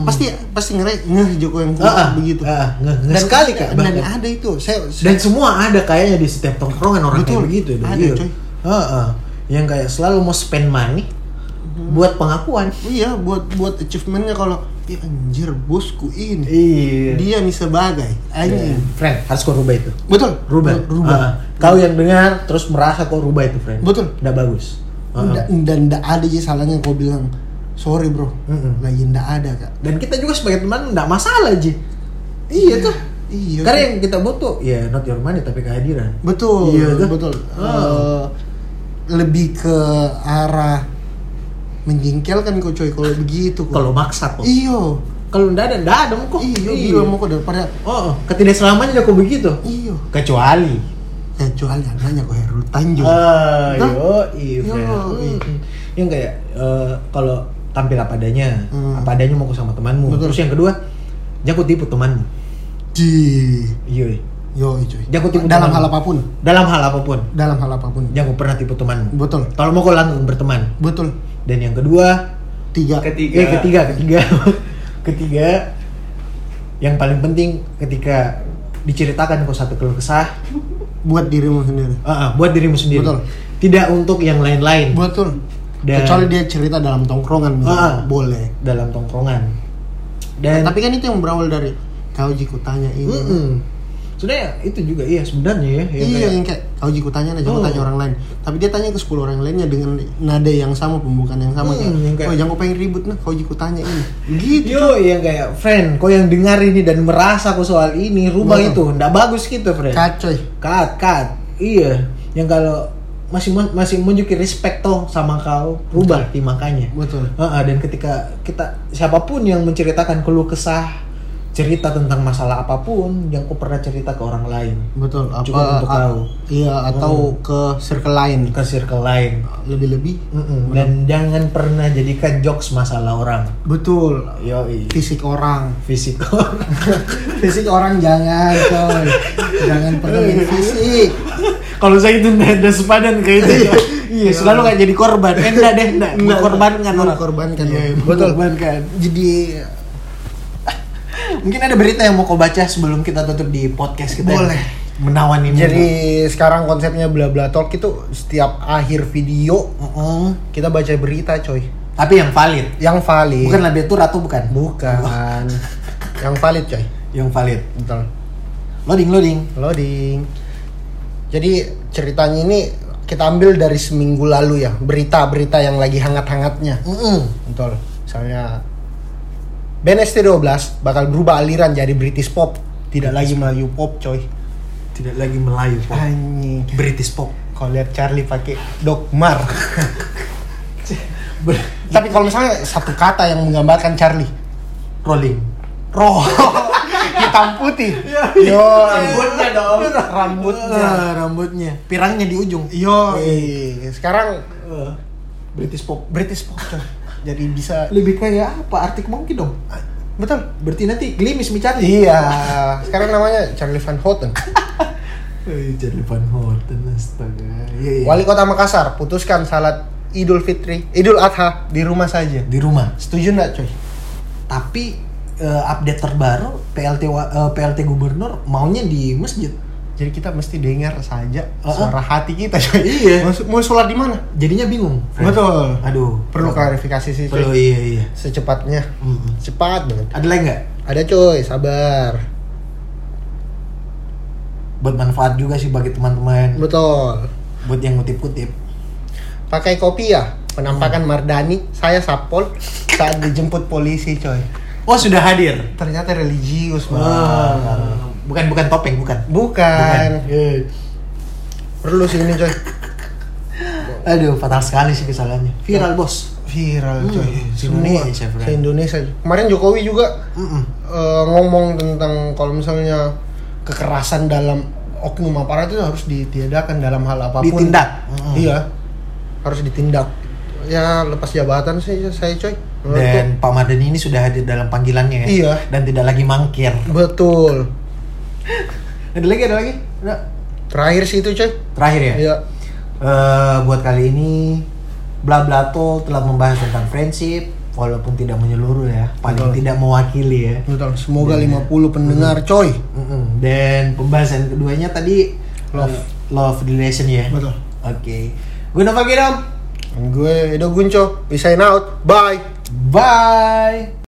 Speaker 3: Pasti pasti ngerek ngeh Joko yang kuat
Speaker 2: Heeh,
Speaker 3: begitu.
Speaker 2: heeh, ah. ngeh- ngeh sekali, Kak,
Speaker 3: Dan
Speaker 2: bahkan.
Speaker 3: ada itu. Saya,
Speaker 2: Dan semua ada kayaknya di setiap tongkrongan orang
Speaker 3: Betul.
Speaker 2: kayak begitu deh.
Speaker 3: Ada,
Speaker 2: Iya.
Speaker 3: coy.
Speaker 2: Heeh. Yang kayak selalu mau spend money
Speaker 3: Mhm.
Speaker 2: buat pengakuan.
Speaker 3: iya buat buat achievementnya kalau "Ih, anjir bosku ini
Speaker 2: Iya.
Speaker 3: dia nih sebagai anjing.
Speaker 2: Friend, harus kau rubah itu.
Speaker 3: Betul,
Speaker 2: Rubah.
Speaker 3: Iya. rubah.
Speaker 2: Ah, kau yang dengar terus merasa kau rubah itu, friend.
Speaker 3: Betul.
Speaker 2: Nggak bagus. Ah.
Speaker 3: Nda- Dan ndak ada aja salahnya kau bilang sorry bro,
Speaker 2: Mm-mm.
Speaker 3: lagi ndak ada kak.
Speaker 2: Dan kita juga sebagai teman nggak masalah Ji. Iya tuh.
Speaker 3: Iya.
Speaker 2: Karena yang kita butuh ya not your money tapi kehadiran.
Speaker 3: betul,
Speaker 2: Iya, tuh.
Speaker 3: betul.
Speaker 2: Ah.
Speaker 3: Eh, lebih ke arah menjengkelkan kau coy kalau begitu. kok.
Speaker 2: Kalau maksa kok.
Speaker 3: iyo,
Speaker 2: Kalau nggak ada nggak ada kok. Iya.
Speaker 3: iyo, iyo mau kau daripada
Speaker 2: Oh, oh. ketidakselamanya kok begitu.
Speaker 3: iyo. Eh,
Speaker 2: Kecuali.
Speaker 3: Kecuali adanya kau Heru Tanjung.
Speaker 2: Ah,
Speaker 3: Nah.
Speaker 2: yoi,
Speaker 3: Yoi.
Speaker 2: friend. Mm-mm. Yang kayak eh, kalau tampil apa adanya,
Speaker 3: Hmm.
Speaker 2: apa adanya mau ke sama temanmu.
Speaker 3: Betul.
Speaker 2: Terus yang kedua, jangan kau tipu temanmu.
Speaker 3: Di,
Speaker 2: Yoi.
Speaker 3: yo coy.
Speaker 2: Jangan kau tipu Ya.
Speaker 3: dalam
Speaker 2: teman.
Speaker 3: hal apapun,
Speaker 2: Dalam hal apapun,
Speaker 3: dalam hal apapun.
Speaker 2: jangan kau pernah tipu temanmu.
Speaker 3: Betul,
Speaker 2: Kalau mau kau langsung berteman.
Speaker 3: betul.
Speaker 2: Dan yang kedua,
Speaker 3: Tiga.
Speaker 2: eh, ketiga, ketiga, ketiga, yang paling penting ketika diceritakan kau satu keluh kesah
Speaker 3: buat dirimu sendiri
Speaker 2: uh, uh, buat dirimu sendiri
Speaker 3: Betul.
Speaker 2: tidak untuk yang lain-lain
Speaker 3: betul
Speaker 2: Dan-
Speaker 3: kecuali dia cerita dalam
Speaker 2: Ah.
Speaker 3: tongkrongan misalnya boleh
Speaker 2: dalam tongkrongan dan
Speaker 3: tapi kan itu yang berawal dari kau jiku tanya ini
Speaker 2: Mm-mm. sebenarnya itu juga iya sebenarnya ya, ya
Speaker 3: Gitu. iya
Speaker 2: kayak-
Speaker 3: yang kayak kau jiku tanya aja
Speaker 2: Oh.
Speaker 3: tanya orang lain tapi dia tanya ke 10 orang lainnya dengan nada yang sama pembukaan yang sama
Speaker 2: Hmm,
Speaker 3: kayak,
Speaker 2: yang kayak- Iya.
Speaker 3: oh jangan kau pengen ribut nah kau jiku tanya ini gitu
Speaker 2: Yo, yang kayak friend, kau yang dengar ini dan merasa kau soal ini rumah
Speaker 3: Betul.
Speaker 2: itu ndak bagus gitu, friend.
Speaker 3: kacoy
Speaker 2: Kat, kat. Iya, yang kalau masih men- masih menunjukin respect toh sama kau, rubah di makanya.
Speaker 3: betul
Speaker 2: Heeh, dan ketika kita siapapun yang menceritakan keluh kesah, cerita tentang masalah apapun yang kau pernah cerita ke orang lain,
Speaker 3: betul apa
Speaker 2: Cukup untuk
Speaker 3: a-
Speaker 2: kau.
Speaker 3: iya atau ke circle lain
Speaker 2: ke circle lain.
Speaker 3: lebih-lebih
Speaker 2: Mm-mm, Dan jangan pernah jadikan jokes masalah orang.
Speaker 3: betul ya,
Speaker 2: Yo,
Speaker 3: fisik orang
Speaker 2: fisik.
Speaker 3: fisik orang jangan coy jangan pernah main fisik
Speaker 2: kalau saya itu nggak ada sepadan kayak itu iya selalu nggak jadi korban eh enggak deh enggak
Speaker 3: Enggak.
Speaker 2: mengorbankan orang
Speaker 3: Mengorbankan.
Speaker 2: Iya, iya,
Speaker 3: Betul.
Speaker 2: mengorbankan
Speaker 3: jadi
Speaker 2: mungkin ada berita yang mau kau baca sebelum kita tutup di podcast kita
Speaker 3: Boleh.
Speaker 2: yang menawan ini
Speaker 3: jadi sekarang konsepnya bla bla talk itu setiap akhir video
Speaker 2: Mm-mm.
Speaker 3: kita baca berita coy
Speaker 2: tapi yang valid
Speaker 3: yang valid
Speaker 2: bukan lebih itu ratu bukan
Speaker 3: bukan yang valid coy
Speaker 2: yang valid
Speaker 3: betul
Speaker 2: loading loading
Speaker 3: loading jadi ceritanya ini kita ambil dari seminggu lalu ya berita-berita yang lagi hangat-hangatnya
Speaker 2: Mm-mm.
Speaker 3: Betul. Misalnya band ST12 bakal berubah aliran jadi British pop, tidak lagi Melayu pop, coy.
Speaker 2: tidak lagi melayu pop.
Speaker 3: Anjing.
Speaker 2: British pop
Speaker 3: Kalau lihat Charlie pakai dogmar.
Speaker 2: Ber-
Speaker 3: Tapi kalau misalnya satu kata yang menggambarkan Charlie,
Speaker 2: rolling
Speaker 3: roh hitam putih. Yo,
Speaker 2: ya, rambutnya dong
Speaker 3: Rambutnya.
Speaker 2: Eh, rambutnya pirangnya di ujung Iya,
Speaker 3: yo. Sekarang
Speaker 2: Eh, British pop
Speaker 3: British pop, coy. Jadi bisa
Speaker 2: lebih kayak apa artik mungkin dong
Speaker 3: betul.
Speaker 2: Berarti nanti gelimis mencari.
Speaker 3: Iya, sekarang namanya Charlie Van Houten.
Speaker 2: Jadi Eh, Van Houten astaga. Iya, iya.
Speaker 3: Wali Kota Makassar putuskan salat Idul Fitri, Idul Adha di rumah saja.
Speaker 2: di rumah.
Speaker 3: Setuju nggak coy?
Speaker 2: Tapi eh, update terbaru PLT wa- eh, PLT gubernur maunya di masjid.
Speaker 3: Jadi kita mesti dengar saja
Speaker 2: Uh-uh.
Speaker 3: suara hati kita coy.
Speaker 2: Iya.
Speaker 3: Mau, mau sholat di mana?
Speaker 2: Jadinya bingung.
Speaker 3: Betul.
Speaker 2: Aduh.
Speaker 3: Perlu klarifikasi sih
Speaker 2: Iya. Perlu
Speaker 3: coy.
Speaker 2: iya iya.
Speaker 3: Secepatnya.
Speaker 2: Mm-mm.
Speaker 3: Cepat banget.
Speaker 2: Ada lagi nggak?
Speaker 3: Ada coy, sabar.
Speaker 2: Buat manfaat juga sih bagi teman-teman.
Speaker 3: Betul.
Speaker 2: Buat yang kutip-kutip.
Speaker 3: Pakai kopiah.
Speaker 2: Hmm.
Speaker 3: Penampakan Mardani, saya Sapol saat dijemput polisi coy.
Speaker 2: Oh sudah hadir.
Speaker 3: Ternyata religius banget.
Speaker 2: Wah. Bukan bukan topeng Ah. bukan. Iya.
Speaker 3: Bukan. Perlu sih ini coy.
Speaker 2: Aduh fatal sekali sih kesalahannya. Viral bos.
Speaker 3: Viral coy.
Speaker 2: Hmm,
Speaker 3: Semua.
Speaker 2: Indonesia, Fran. Hmm.
Speaker 3: Se-Indonesia. Kemarin Jokowi juga
Speaker 2: Mm-mm.
Speaker 3: eh, ngomong tentang kalau misalnya kekerasan dalam oknum aparat itu harus ditiadakan dalam hal apapun.
Speaker 2: Ditindak. Mm.
Speaker 3: Iya. Harus ditindak. Ya lepas jabatan sih saya coy. Menurutku-
Speaker 2: Dan Pak Mardani ini sudah hadir dalam panggilannya ya.
Speaker 3: Iya.
Speaker 2: Dan tidak lagi mangkir.
Speaker 3: betul.
Speaker 2: Ada lagi, ada lagi? Ada.
Speaker 3: Terakhir sih itu coy.
Speaker 2: Terakhir ya.
Speaker 3: Iya.
Speaker 2: Eh, buat kali ini bla bla tol telah membahas tentang friendship walaupun tidak menyeluruh ya, paling
Speaker 3: Betul.
Speaker 2: tidak mewakili ya.
Speaker 3: Betul. Semoga 50 pendengar
Speaker 2: Hmm.
Speaker 3: coy.
Speaker 2: Mm-mm. Dan pembahasan keduanya tadi
Speaker 3: Love.
Speaker 2: eh, love relation ya. Oke.
Speaker 3: Betul.
Speaker 2: Gue Nova Giram.
Speaker 3: Gue Edo Gunco. Peace out. Bye.
Speaker 2: Bye.